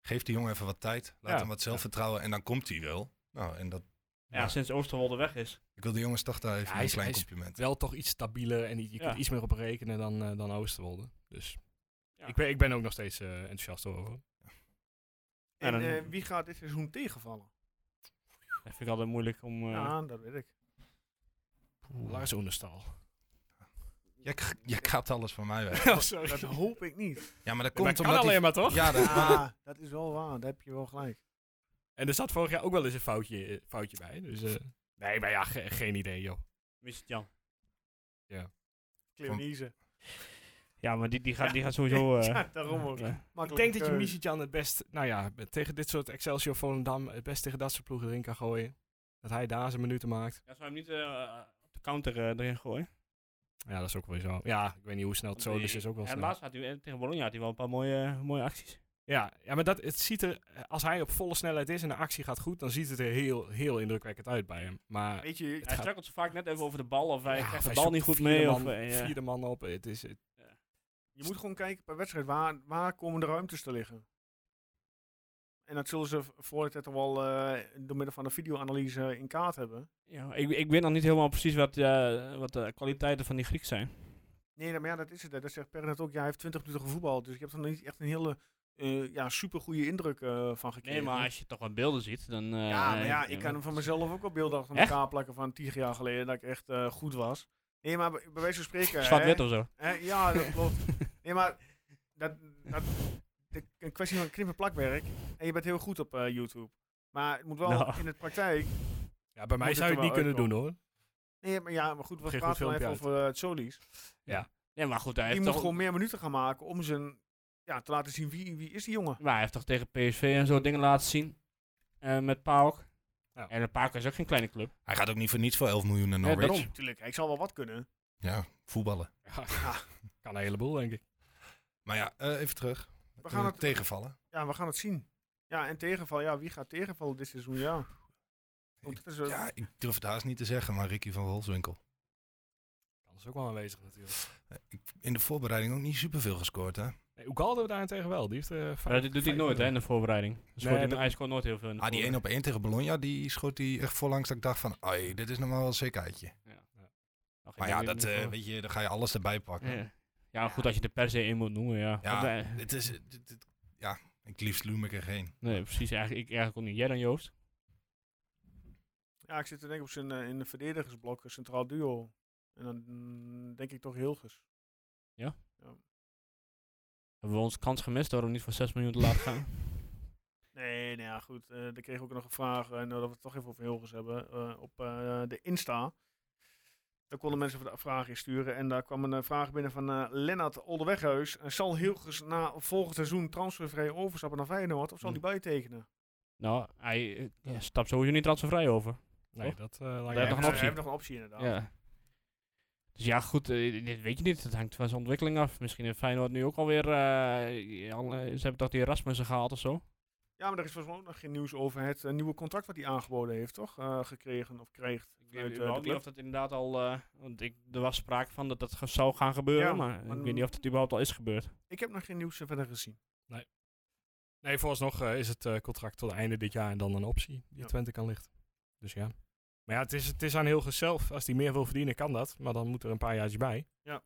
S5: geef die jongen even wat tijd. Laat
S4: Ja.
S5: hem wat zelfvertrouwen en dan komt hij wel. Nou, en dat...
S6: Ja, sinds Oosterwolde weg is.
S5: Ik wil de jongens toch daar even
S4: hij
S5: een
S4: is-
S5: klein
S4: hij is-
S5: compliment.
S4: wel toch iets stabieler en i- je
S6: Ja.
S4: kunt iets meer op rekenen dan, eh, dan Oosterwolde. Dus
S6: Ja.
S4: ik, ben, ik ben ook nog steeds eh, enthousiast over.
S1: En
S6: Ja, dan-
S1: eh, wie gaat dit seizoen tegenvallen?
S6: Dat vind ik altijd moeilijk om... eh,
S1: Ja, dat weet ik.
S4: Lars Oenestal.
S5: Jij, k- jij kaapt alles van mij weg.
S4: oh, sorry.
S1: Dat hoop ik niet.
S5: Ja, maar dat
S4: maar
S5: komt
S4: kan
S5: omdat
S4: alleen
S5: die-
S4: maar, toch?
S5: Ja, dat, maar,
S1: Ah, dat is wel waar. Daar heb je wel gelijk.
S4: En er zat vorig jaar ook wel eens een foutje, eh, foutje bij. Dus, eh, nee, maar ja, ge- geen idee, joh.
S6: Mis het Jan.
S1: Cleonise.
S6: Ja, maar die, die, gaat, die gaat sowieso... eh,
S1: ja, daarom ook.
S6: ja.
S4: Ik denk dat je Misitjan het best, nou ja, tegen dit soort Excelsior Volendam, het best tegen dat soort ploegen erin kan gooien. Dat hij daar zijn minuten maakt.
S6: Ja, zou hem niet eh, op de counter eh, erin gooien.
S4: Ja, dat is ook wel zo. Ja, ik weet niet hoe snel het zo is. is ook wel
S6: En
S4: snel.
S6: laatst had hij, eh, tegen Bologna had hij wel een paar mooie, eh, mooie acties.
S4: Ja, ja, maar dat, het ziet er, eh, als hij op volle snelheid is en de actie gaat goed, dan ziet het er heel, heel indrukwekkend uit bij hem. Maar
S1: Weet je,
S6: hij
S4: gaat-
S6: strukkelt zo vaak net even over de bal of hij
S4: ja,
S6: krijgt de
S4: hij
S6: bal
S4: zoekt
S6: niet goed
S4: vierde
S6: mee.
S4: Man,
S6: of, eh, ja.
S4: Vierde man op. Het is, het-
S1: je moet gewoon kijken per wedstrijd, waar, waar komen de ruimtes te liggen? En dat zullen ze v- voor de tijd al wel eh, door middel van de videoanalyse in kaart hebben.
S6: Ja, ik, ik weet nog niet helemaal precies wat, eh, wat de kwaliteiten van die Griek zijn.
S1: Nee, maar ja, dat is het. hè. Dat zegt Per net ook. Ja, hij heeft 20 minuten gevoetbald. Dus ik heb er nog niet echt een hele eh ja, super goede indruk eh, van gekregen.
S6: Nee, maar als je toch wat beelden ziet, dan... eh,
S1: Ja, maar ja, ik kan hem van mezelf ook wel beelden achter
S6: Echt?
S1: elkaar plakken van 10 jaar geleden dat ik echt eh, goed was. Nee, maar bij bij wijze van spreken.
S6: Zwart
S1: hè,
S6: wit of zo.
S1: hè, ja, Ah, dat klopt. Nee, maar dat, dat, de- een kwestie van knip- en plakwerk. En je bent heel goed op eh, YouTube. Maar het moet wel
S6: Nou.
S1: in de praktijk.
S4: ja, bij mij
S1: Moet
S4: zou
S1: het
S4: je het
S1: er
S4: niet
S1: wel
S4: kunnen doen hoor.
S1: Nee, maar ja, maar goed, we
S4: Geen goed
S1: praten wel even
S4: filmpje
S1: over eh, het Solis.
S6: Ja, maar goed,
S1: Die
S6: hij heeft,
S1: moet
S6: toch,
S1: gewoon meer minuten gaan maken om zijn, ja, te laten zien wie, wie is die jongen.
S6: maar hij heeft toch tegen PSV en zo dingen laten zien. Eh, met PAOK.
S4: Ja.
S6: En PAOK is ook geen kleine club.
S5: Hij gaat ook niet voor niets voor 11 miljoen naar
S6: Ja,
S5: Norwich.
S6: daarom.
S5: Ja,
S1: Natuurlijk, hij zal wel wat kunnen.
S5: voetballen.
S4: Kan een heleboel, denk ik.
S5: Maar ja, eh, even terug.
S1: We gaan,
S5: Eh,
S1: het,
S5: tegenvallen.
S1: ja, we gaan het zien. Ja, en tegenval, ja, wie gaat tegenvallen dit seizoen? Ja. Want het is, eh,
S5: Ja, ik durf het haast niet te zeggen, maar Ricky van Wolfswinkel.
S4: Dat is dus ook wel aanwezig natuurlijk.
S5: In de voorbereiding ook niet superveel gescoord, hè?
S4: Nee, Ugalde daarentegen wel. Die heeft eh
S6: Maar
S4: vijf-
S6: dat doet hij
S4: vijf
S6: nooit hè,
S4: minuten.
S6: in de voorbereiding. Dus
S4: Nee,
S6: hij
S4: dat-
S6: hij scoort nooit heel veel in de
S5: Ah, die 1
S6: voorbereiding.
S5: op 1 tegen Bologna, die schoot hij echt voorlangs dat ik dacht van, ai, dit is nog maar wel een zekerheidje.
S6: Ach, ik
S5: Maar ja,
S6: weet
S5: dat,
S6: niet
S5: eh,
S6: of-
S5: weet je, daar ga je alles erbij pakken.
S6: Ja. Ja, goed als je er per se in moet noemen, ja.
S5: Ja,
S6: Want, eh,
S5: Het is, het- het- ja, ik liefst loem ik er geen.
S6: nee, precies. Eigenlijk, ik, eigenlijk ook niet. Jij dan, Joost?
S1: ja, ik zit te denken op zijn eh, in de verdedigersblok, een centraal duo. En dan mm, denk ik toch Hilgers.
S6: Hebben we ons kans gemist door hem niet voor 6 miljoen te laten gaan?
S1: Nee, nou ja, goed. eh daar kreeg ik ook nog een vraag, en dat we het toch even over Hilgers hebben, eh, op eh, de Insta. Daar konden mensen v- vragen in sturen. En daar kwam een eh, vraag binnen van eh Lennart Oldeweghuis. Eh, zal Hilgers na volgend seizoen transfervrij overstappen naar Feyenoord, of zal
S6: Hm.
S5: Mm.
S1: hij bijtekenen?
S6: Nou, hij eh, stapt sowieso niet transfervrij over.
S4: Nee, dat eh
S6: Daar
S4: lijkt me
S1: Ja,
S6: heb nog een
S4: echt-
S1: we
S6: optie.
S1: hebben nog een optie inderdaad.
S6: Ja. Dus ja, goed, eh, dit weet je niet. Het hangt van zijn ontwikkeling af. Misschien heeft Feyenoord nu ook alweer... eh, al, eh, ze hebben toch die Erasmussen gehaald of zo?
S1: Ja, maar er is volgens mij ook nog geen nieuws over het eh, nieuwe contract wat hij aangeboden heeft, toch? Eh, gekregen of krijgt.
S6: Ik
S1: vanuit,
S6: weet
S1: eh, de
S6: überhaupt niet
S1: club.
S6: of dat inderdaad al... eh, want ik, er was sprake van dat dat ge- zou gaan gebeuren,
S1: Ja,
S6: maar
S1: maar-
S6: ik weet niet of dat überhaupt al is gebeurd.
S1: Ik heb nog geen nieuws eh, verder gezien.
S4: Nee, vooralsnog eh, is het eh, contract tot einde dit jaar en dan een optie die
S1: Ja.
S4: Twente kan lichten. Dus ja. Maar ja, het is, het is aan Hilgers zelf. Als hij meer wil verdienen, kan dat. Maar dan moet er een paar jaartjes bij.
S1: Ja.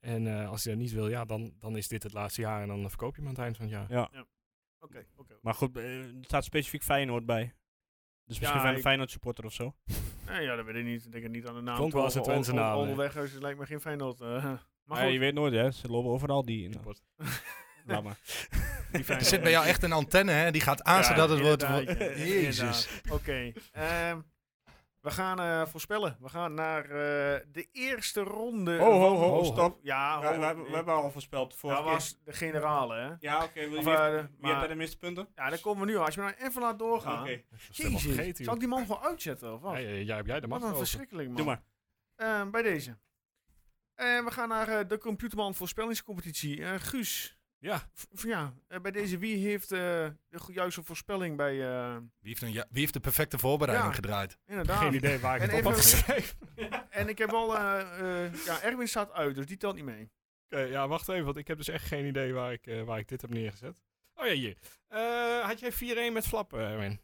S4: En eh, als hij dat niet wil, ja, dan, dan is dit het laatste jaar en dan verkoop je hem aan het eind van het jaar.
S6: Ja.
S1: Oké, oké.
S6: Maar goed, eh, er staat specifiek Feyenoord bij. Dus misschien
S1: Ja,
S6: van een
S1: ik-
S6: Feyenoord supporter of zo.
S1: Nou ja, dat weet ik niet. Ik denk het niet aan de naam.
S4: Klonk wel als
S1: toe.
S4: het Twentse
S1: Ol- Ol-
S4: naam, hè.
S1: Olderweghuis is dus lijkt me geen Feyenoord. eh. maar
S6: Maar
S1: goed,
S6: je weet nooit, hè. Ze lopen overal die... Nou,
S4: Support.
S6: laat maar.
S1: die
S5: Er
S1: Feyenoord.
S5: zit bij jou echt een antenne, hè? Die gaat aan
S1: Ja,
S5: zodat het wordt...
S1: inderdaad, ja,
S5: Jezus.
S1: inderdaad. Oké. ehm, we gaan eh, voorspellen. We gaan naar eh, de eerste ronde.
S6: Eh, Ho, ho,
S1: van-
S6: ho, stop.
S1: Ja, ho,
S6: al voorspeld
S1: dat was de generale, hè?
S6: Ja, oké. wil je
S1: Of,
S6: wie-
S1: eh,
S6: Wie
S1: maar-
S6: hebt daar de meeste punten? Ah,
S1: ja, daar komen we nu. Als je me nou even laat doorgaan.
S6: Oké,
S4: Dat is helemaal
S1: Jezus,
S4: vergeten,
S1: zal ik
S4: joh.
S1: die man gewoon uitzetten of wat?
S4: Ja, ja, ja, heb jij de
S1: Wat
S4: macht
S1: een
S4: over.
S1: verschrikkeling, man.
S6: doe maar.
S1: Eh, bij deze. Eh, we gaan naar eh, de Computerman voorspellingscompetitie. Eh, Guus,
S4: Ja,
S1: v- v- ja, eh, bij deze wie heeft eh, de go- juiste voorspelling bij... eh,
S5: Wie heeft, een, ja- wie heeft de perfecte voorbereiding
S1: Ja.
S5: gedraaid?
S1: inderdaad.
S4: geen idee waar ik
S1: En
S4: het op had
S1: even-
S4: geschreven.
S1: En ik heb al... eh, eh, ja, Erwin staat uit, dus die telt niet mee.
S4: Oké, Eh, ja, wacht even, want ik heb dus echt geen idee waar ik, eh, waar ik dit heb neergezet. Oh ja, hier. Eh, had jij 4-1 met flap, eh, Erwin?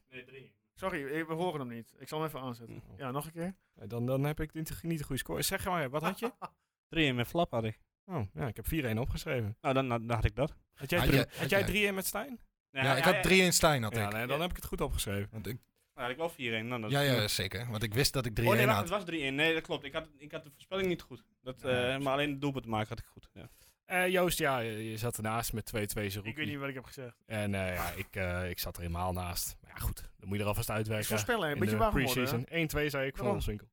S1: Sorry, eh, we horen hem niet. Ik zal hem even aanzetten.
S4: Oh.
S1: Ja, nog een keer.
S4: Eh, Dan, dan heb ik niet niet een goede score. Zeg maar, wat had
S1: Ah,
S4: je?
S6: 3 met flap had ik.
S4: Oh, ja, ik heb 4-1 opgeschreven.
S6: Nou, dan, dan had ik dat.
S4: Had jij,
S5: Had
S4: drie-
S5: jij-
S4: had
S5: had
S4: jij
S5: jij-
S4: 3-1 met Stijn?
S5: Ja, ik had 3 in Stijn, had
S4: Ja,
S5: ik.
S4: nee, dan heb ik het goed opgeschreven.
S5: Want ik
S6: Nou, had ik wel 4-1. Nou, dat-
S5: ja, ja, zeker. Want ik wist dat ik 3-1
S6: Oh nee, wacht, het
S5: had.
S6: was 3-1. Nee, dat klopt. Ik had, ik had de voorspelling niet goed. Dat,
S4: Ja,
S6: eh,
S4: precies.
S6: maar alleen het doelpunt maken had ik goed. Ja.
S4: Eh, Joost, ja, je je zat ernaast met 2-2 zijn
S1: Ik weet niet wat ik heb gezegd.
S4: En eh, ja, ik, eh, ik zat er helemaal naast. Maar ja, goed, dan moet je er alvast
S1: Is
S4: uitwerken. eh,
S1: voorspellen, hè?
S4: In
S1: een beetje
S4: de
S1: warm worden. hè?
S4: pre-season. 1-2 zei ik van
S1: Waarom?
S4: Wolfswinkel.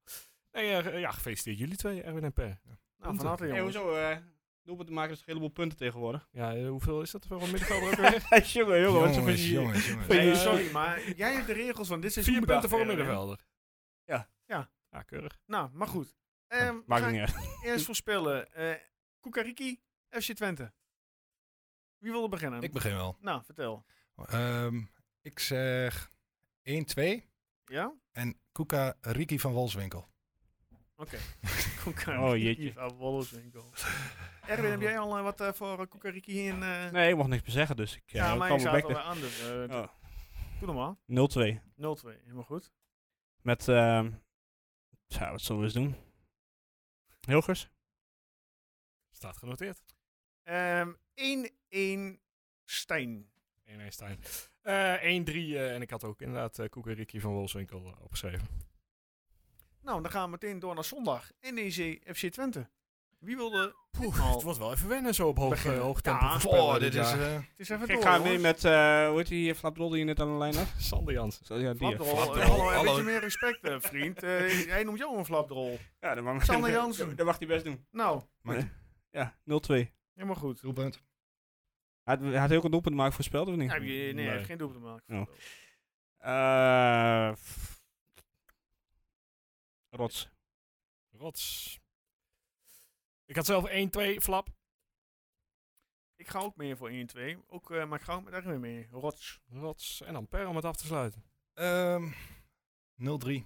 S4: Nee, eh, ja, gefeliciteerd jullie twee, Erwin en Per.
S1: Nou, van harte
S6: Hey,
S1: jongens.
S6: hoezo? eh, doelpunten maken is een heleboel punten tegenwoordig.
S4: Ja, eh, hoeveel is dat voor een middenvelder ook weer?
S6: jongen, jongen. wat
S5: jongens,
S6: is er met
S5: jongens,
S6: die-
S5: jongens,
S1: Nee,
S6: Eh,
S1: sorry, maar jij hebt de regels van dit seizoen
S4: Vier punten
S1: bedacht,
S4: voor een
S1: Erwin.
S4: middenvelder.
S6: Ja.
S1: Ja.
S4: Ja, keurig.
S1: Nou, maar goed. Ehm we
S6: Maakt
S1: gaan
S6: niet uit.
S1: eerst voorspellen. Eh Kukariki, FC Twente. Wie wil er beginnen?
S5: Ik begin wel.
S1: Nou, vertel.
S5: Ehm, ik zeg 1-2
S1: Ja?
S5: en Kuka Riki van Wolfswinkel.
S1: Kukariki
S6: Oh, jeetje.
S1: van Wolfswinkel. Erwin, heb jij al eh, wat eh, voor uh, Kukariki in... eh,
S6: Nee, ik mocht niks meer zeggen, dus ik
S1: ja,
S6: eh,
S1: maar
S6: kwam
S1: je
S6: er
S1: zou het
S6: back
S1: wel weer aan doen. Eh,
S6: Oh.
S1: Doe normaal.
S6: de- 0-2.
S1: 0-2, helemaal goed.
S6: Met, ehm ja, wat zullen we eens doen? Hilgers?
S4: Staat genoteerd.
S1: Ehm 1-1 Stijn.
S4: 1-1 Stijn. Eh, 1-3 eh, en ik had ook inderdaad eh Kukariki van Wolfswinkel eh, opgeschreven.
S1: Nou, dan gaan we meteen door naar zondag. E NEC FC Twente. Wie wilde...
S4: Poeh, het wordt wel even wennen zo op hoog,
S1: Beginnen.
S4: eh, hoog tempo.
S1: Ja.
S4: voorspellen
S5: Oh, dit
S4: dit
S5: is...
S4: jaar.
S5: eh,
S1: Het is even
S6: Ik
S1: door,
S6: ga
S1: jongens.
S6: weer met, eh hoe heet die hier, Flapdol die je net aan de lijn had?
S4: eh, Sander Jansen.
S6: Zo, Ja, die.
S1: Flapdrol, eh,
S5: Flapdrol,
S1: hallo, een
S5: hallo.
S1: beetje meer respect, eh, vriend. Eh, hij noemt jou een flapdrol.
S6: Ja, dat mag,
S1: Sander Jansen.
S6: dat mag hij best doen.
S1: Nou,
S6: Ja, 0-2.
S1: helemaal goed.
S5: doelpunt.
S6: Hij had, hij had ook een doelpunt maken voorspeld, of niet?
S1: Ja, heb je, nee, hij heeft
S4: Nee.
S1: geen doel te maken.
S6: Oh. Eh, f- rots.
S4: Rots. Ik had zelf 1-2 flap.
S1: Ik ga ook meer voor 1-2. Ook, eh, maar ik ga ook met Erwin mee. Rots.
S4: Rots. En dan Per om het af te sluiten.
S5: Ehm 0-3.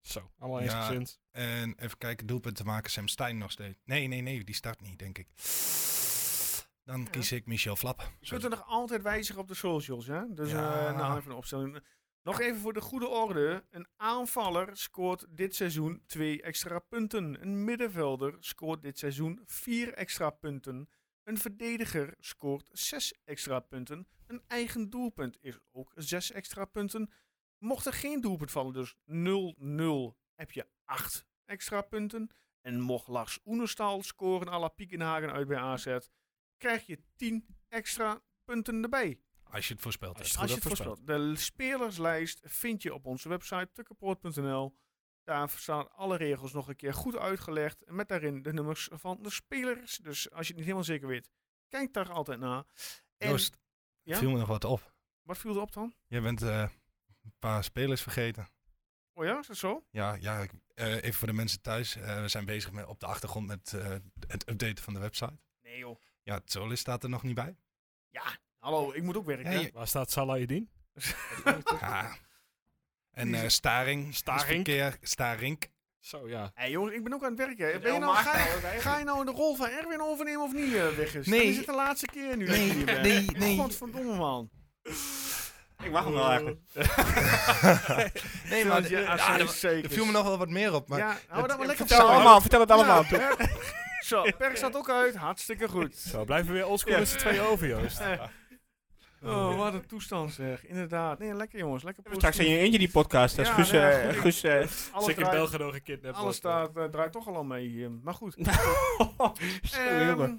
S4: Zo, allemaal eens
S5: Ja.
S4: gezind.
S5: En even kijken, doelpunt te maken, Sam Stein nog steeds. Nee, nee, nee, die start niet, denk ik. Dan kies ik Michel Flap.
S1: Je kunt er nog altijd wijzigen op de socials, hè? Dus
S5: Ja.
S1: eh, nou, even een opstelling. Nog even voor de goede orde. Een aanvaller scoort dit seizoen twee extra punten. Een middenvelder scoort dit seizoen vier extra punten. Een verdediger scoort zes extra punten. Een eigen doelpunt is ook zes extra punten. Mocht er geen doelpunt vallen, dus 0-0, heb je acht extra punten. En mocht Lars Oenestal scoren à la Piekenhagen uit bij AZ, krijg je 10 extra punten erbij.
S5: Als je het voorspelt
S4: Als je het
S5: hebt.
S1: Als je
S4: goed
S1: het voorspelt. De spelerslijst vind je op onze website tukkenpoort.nl. Daar staan alle regels nog een keer goed uitgelegd. Met daarin de nummers van de spelers. Dus als je het niet helemaal zeker weet, kijk daar altijd naar. En
S5: Joost,
S1: Ja?
S5: viel me nog wat op.
S1: wat viel er op dan?
S5: Jij bent eh, een paar spelers vergeten.
S1: Oh ja, is dat zo?
S5: Ja, ja ik- eh, even voor de mensen thuis. eh, we zijn bezig met, op de achtergrond met eh, het updaten van de website.
S1: Nee joh.
S5: Ja, Tsolis staat er nog niet bij.
S1: Ja, hallo, ik moet ook werken.
S5: Ja,
S1: hè?
S5: je-
S4: Waar staat Salah Edin?
S5: Ja. En eh, Staring.
S4: Starink.
S5: Keer, Starink.
S4: Zo, ja.
S1: Hé jongens, ik ben ook aan het werken. Ben je nou, ga, je, ga je nou de rol van Erwin overnemen of niet, eh, Wiggers?
S5: Nee.
S1: Is het de laatste keer nu?
S5: Nee,
S1: dat je hier bent?
S5: nee, nee.
S1: Godverdomme man.
S6: Ik mag hem wel eigenlijk.
S5: nee,
S1: Ja,
S5: maar ja,
S1: zeker.
S5: er- er viel me nog wel wat meer op. Maar
S1: ja, hou dat maar lekker
S6: Vertel het allemaal, vertel het allemaal. toe.
S1: Zo, Perk staat ook uit. Hartstikke goed.
S4: Zo, blijven we weer oldschool met z'n tweeën over, Joost.
S1: Eh, Oh, wat een toestand zeg. Inderdaad. Nee, lekker jongens. Lekker
S6: Straks in je eentje die podcast. Dat is
S1: Ja,
S6: Guus,
S1: nee,
S6: eh,
S1: goed, ik-
S6: Guus, eh,
S1: positief.
S4: Als
S1: Alles,
S4: ik in
S1: draait,
S4: België nog gekidnapt
S1: alles staat, eh, draait toch al aan mee hier. Maar goed.
S4: oh,
S6: Zo, jongen.
S1: Ehm,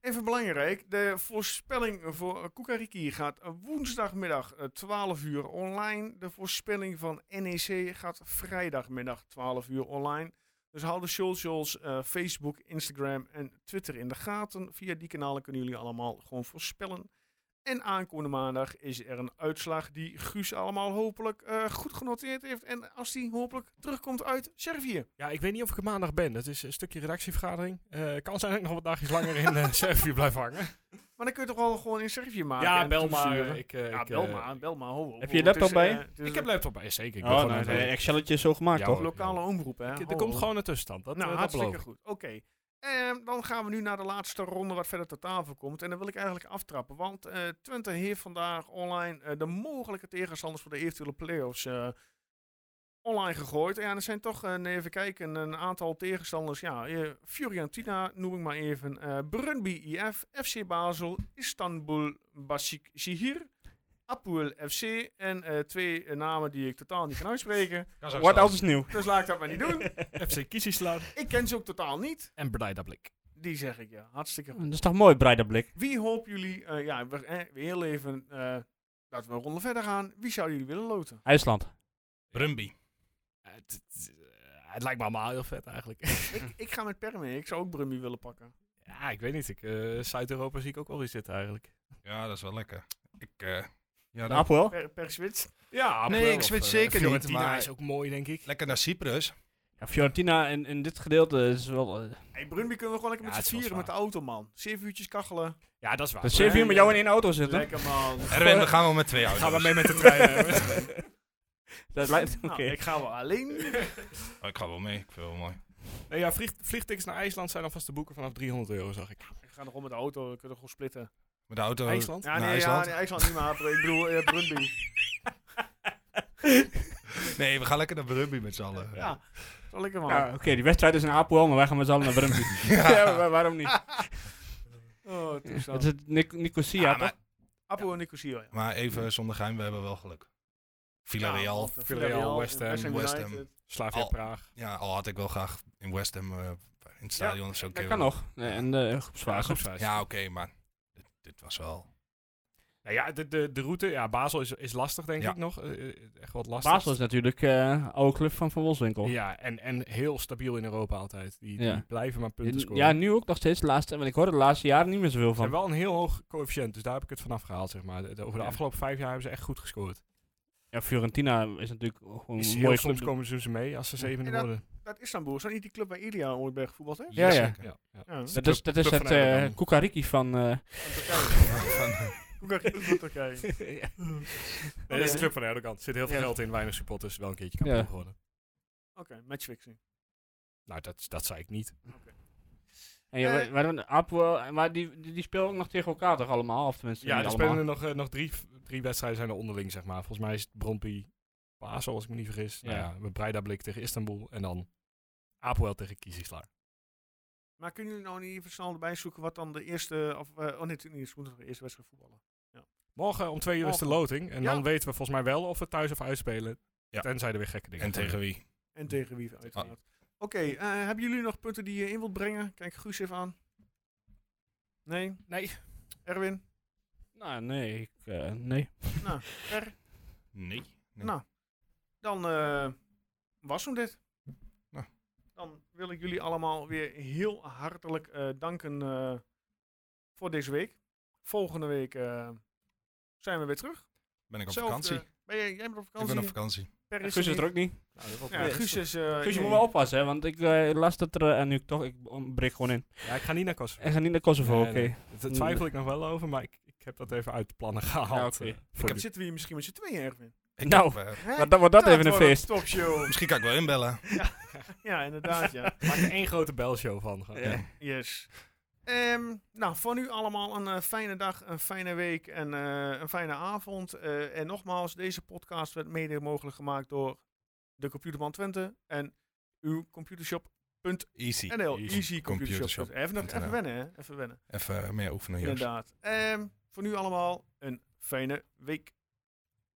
S1: even belangrijk. De voorspelling voor eh, Kukariki gaat woensdagmiddag eh, 12 uur online. De voorspelling van NEC gaat vrijdagmiddag 12 uur online. Dus hou de socials, eh, Facebook, Instagram en Twitter in de gaten. Via die kanalen kunnen jullie allemaal gewoon voorspellen. En aankomende maandag is er een uitslag die Guus allemaal hopelijk eh, goed genoteerd heeft. En als die hopelijk terugkomt uit Servië.
S4: Ja, ik weet niet of ik er maandag ben. Dat is een stukje redactievergadering. Eh, kan zijn dat ik nog wat dagjes langer in eh, Servië blijf hangen.
S1: Ah, Maar dan kun je toch wel gewoon in Servië maken.
S4: ja,
S1: en
S4: bel maar.
S1: toesturen?
S4: Ik, eh,
S1: Ja,
S4: ik,
S1: bel
S4: eh,
S1: maar, bel maar. Ho, ho,
S6: Heb
S1: ho.
S6: je
S1: Het
S6: laptop
S1: is,
S6: bij
S1: eh,
S6: je?
S1: het is
S4: Ik heb laptop bij, zeker. Ik ben
S6: Oh,
S4: gewoon
S6: nou,
S4: aan het-
S6: een Excelletje is zo gemaakt,
S4: Ja,
S6: toch?
S1: een lokale omroep, hè?
S4: Ik-
S1: Ho,
S4: Er komt
S1: ho.
S4: gewoon een tussenstand. Dat,
S1: Oh. nou,
S4: eh, dat beloof
S1: hartstikke
S4: ik.
S1: goed. Oké. Ehm, dan gaan we nu naar de laatste ronde wat verder ter tafel komt. En dan wil ik eigenlijk aftrappen. Want eh, Twente heeft vandaag online eh, de mogelijke tegenstanders voor de eventuele play-offs eh, online gegooid. Ja, en er zijn toch, eh, even kijken, een aantal tegenstanders. Ja, eh, Fiorentina noem ik maar even. eh Brøndby IF, FC Basel, Istanbul Basik Shihir, Apoel FC. En eh, twee eh, namen die ik totaal niet kan uitspreken.
S6: Wat alles nieuw.
S1: Dus laat ik dat maar niet doen.
S4: FC Kiesislaan
S1: Ik ken ze ook totaal niet.
S4: en Breida Blik.
S1: Die zeg ik ja. Hartstikke goed.
S6: Dat is toch mooi, breide blik.
S1: Wie hopen jullie, eh, ja, we, eh, we heel even, eh, laten we een ronde verder gaan. Wie zouden jullie willen loten?
S6: IJsland.
S5: Brumby.
S4: Eh, Het, het- eh, het lijkt me allemaal heel vet eigenlijk.
S1: ik, ik ga met Per mee. Ik zou ook Brumby willen pakken.
S4: Ja, ik weet niet. Ik, eh, Zuid-Europa zie ik ook wel weer zitten eigenlijk.
S5: Ja, dat is wel lekker. Ik, eh,
S4: Nou.
S5: ja, dan-
S6: Appel wel?
S1: Per, per switch.
S4: Ja,
S5: Nee, ik
S1: eh,
S5: switch zeker niet, maar-
S4: is ook mooi, denk ik.
S5: lekker naar Cyprus.
S6: Ja, Fiorentina in, in dit gedeelte is wel... eh,
S1: Hey, Brunby kunnen we gewoon lekker
S4: Ja,
S1: met
S4: het
S1: z'n
S4: is wel
S1: vieren met de auto, man. Zeven uurtjes kachelen.
S4: Ja, dat is waar.
S6: dat zeven uur met jou in één auto zitten.
S1: Lekker, man.
S5: Erwin, we gaan wel met twee auto's.
S4: Gaan we mee met de trein. hè?
S6: Dat lijkt... Oké.
S1: Nou, ik ga wel alleen.
S5: Oh, ik ga wel mee, ik vind het wel mooi.
S4: nee, Eh, ja, vlieg, vliegtickets naar IJsland zijn alvast te boeken vanaf 300 euro, zag ik.
S1: Ik ga nog om met de auto, we kunnen gewoon splitten.
S5: Met de auto.
S4: IJsland?
S1: Oh, Ja,
S5: Naar
S1: nee,
S5: IJsland?
S1: Ja, nee, IJsland niet maar. Ik bedoel, eh, Brunby.
S5: Nee, we gaan lekker naar Brumby met z'n allen.
S1: Ja, dat is wel lekker, man.
S6: Ja, Oké, die wedstrijd is in Apel, maar wij gaan met z'n allen naar Brumby. ja. wa- waarom niet?
S1: Oh,
S6: Het
S1: toestand.
S6: is het Nic Nicosia,
S5: Ah, maar,
S6: toch?
S1: Apple en Nicosia, ja.
S5: maar even zonder geheim, we hebben wel geluk.
S1: Ja,
S5: Villarreal.
S1: want, eh,
S4: Villarreal, West Ham,
S5: West
S1: United.
S5: Ham.
S4: Slavia
S1: Oh.
S5: Al-
S4: Praag.
S5: Ja, al had ik wel graag in West Ham eh, in het stadion of zo. een
S6: Dat
S5: keer
S6: kan
S5: willen.
S6: nog. Nee, en de groepsfase.
S4: groepsfase.
S5: Ja, oké, maar dit, dit was wel...
S4: Nou ja, de, de, de route, ja, Basel is, is lastig, denk
S5: Ja.
S4: ik nog. Eh, eh, echt wat lastig.
S6: Basel is natuurlijk eh oude club van Van Wolfswinkel.
S4: Ja, en, en heel stabiel in Europa altijd. Die, die
S6: Ja.
S4: blijven maar punten
S6: Ja,
S4: scoren.
S6: Ja, nu ook nog steeds. de Laatste, want ik hoor de laatste jaren niet meer zoveel
S4: Ze hebben
S6: van.
S4: wel een heel hoog coëfficiënt, dus daar heb ik het vanaf gehaald, zeg maar. De- de- over de
S6: Ja.
S4: afgelopen vijf jaar hebben ze echt goed gescoord.
S6: Ja, Fiorentina is natuurlijk gewoon
S4: Is
S6: een
S4: heel
S6: mooie
S4: soms
S6: club.
S4: komen ze dus mee als ze zevende
S1: Ja, dat-
S4: worden.
S1: Dat Istanbul. Is dat niet die club waar Ilia ooit bij gevoetbald heeft?
S6: Ja, ja.
S5: zeker.
S4: Ja, ja.
S1: Ja.
S6: Dat is, dat is
S4: Club
S6: het
S4: van Erdogan.
S6: eh Kukariki van... eh,
S1: Hoe kan ik dat van Turkije?
S4: Nee, dat is de club van Erdogan. Er zit heel veel
S1: Ja.
S4: geld in, weinig supporters. Wel een keertje kampioen
S6: Ja.
S4: geworden.
S1: Oké, matchfixing.
S4: Nou, dat, dat zei ik niet.
S6: en ja,
S1: Eh.
S6: wa- waarom- Apel, maar die, die, die spelen ook nog tegen elkaar toch allemaal? Of tenminste,
S4: Ja,
S6: niet
S4: er
S6: allemaal.
S4: spelen er nog, eh, nog drie, drie wedstrijden zijn er onderling, zeg maar. Volgens mij is het Brompi Basel, als ik me niet vergis. Ja.
S6: Ja.
S4: Nou ja, we Breida Blik tegen Istanbul en dan Apoel tegen Kizislaar.
S1: Maar kunnen jullie nou niet even snel erbij zoeken wat dan de eerste... Of, eh, oh nee, natuurlijk niet. Ze moeten nog de eerste wedstrijd voetballen.
S4: Morgen om twee uur is de
S1: Morgen.
S4: loting. En
S1: Ja.
S4: dan weten we volgens mij wel of we thuis of uit spelen.
S5: Ja.
S4: Tenzij er weer gekke dingen
S5: En tegen
S4: gebeuren.
S5: wie?
S1: En tegen wie, uiteraard. Oké, eh, hebben jullie nog punten die je in wilt brengen? Kijk Guus even aan. Nee?
S4: Nee.
S1: Erwin?
S6: Nou, nee. Ik, eh, nee.
S1: Er?
S5: Nee. Nee.
S1: Nou, dan eh, was hem dit.
S5: Nou.
S1: Dan wil ik jullie allemaal weer heel hartelijk eh, danken eh, voor deze week. Volgende week eh, zijn we weer terug.
S5: Ben ik op
S1: Zelfde-
S5: vakantie?
S1: Ben jij, jij bent op
S5: Ik
S1: vakantie?
S5: ben op vakantie.
S1: Per is
S6: Guus is er ook niet.
S4: Nou, dat wordt
S1: Ja,
S4: wel
S1: Guus
S4: lastig.
S1: is... eh,
S6: Guus, je
S1: nee.
S6: moet wel oppassen, hè, want ik eh, las dat er... en nu ik toch, ik breek gewoon in.
S4: Ja, ik ga niet naar Kosovo.
S6: En ga niet naar Kosovo,
S4: Nee,
S6: oké. Mm.
S4: nee. Daar twijfel ik nog wel over, maar ik, ik heb dat even uit de plannen gehaald.
S6: Ja, oké.
S4: eh, voor
S1: Dan
S4: nu.
S1: zitten we hier misschien met z'n tweeën, Erwin.
S5: Ik
S6: Nou.
S5: heb, eh,
S1: Hè?
S6: Maar dan wordt dat, even een
S1: wordt
S6: feest.
S1: topshow.
S5: misschien kan ik wel inbellen.
S1: ja, inderdaad, ja.
S4: Maak er één grote belshow van. gewoon.
S6: Ja.
S1: Yes. Ehm, nou, voor nu allemaal een eh, fijne dag, een fijne week en eh, een fijne avond. Eh, en nogmaals, deze podcast werd mede mogelijk gemaakt door de Computerman Twente en uw computershop.nl.
S5: Easy.
S1: Easy, computershop. Dus Even, nog, even
S5: NL.
S1: wennen, hè? Even wennen.
S5: Even meer oefenen, Joost.
S1: Inderdaad. Ehm, voor nu allemaal een fijne week.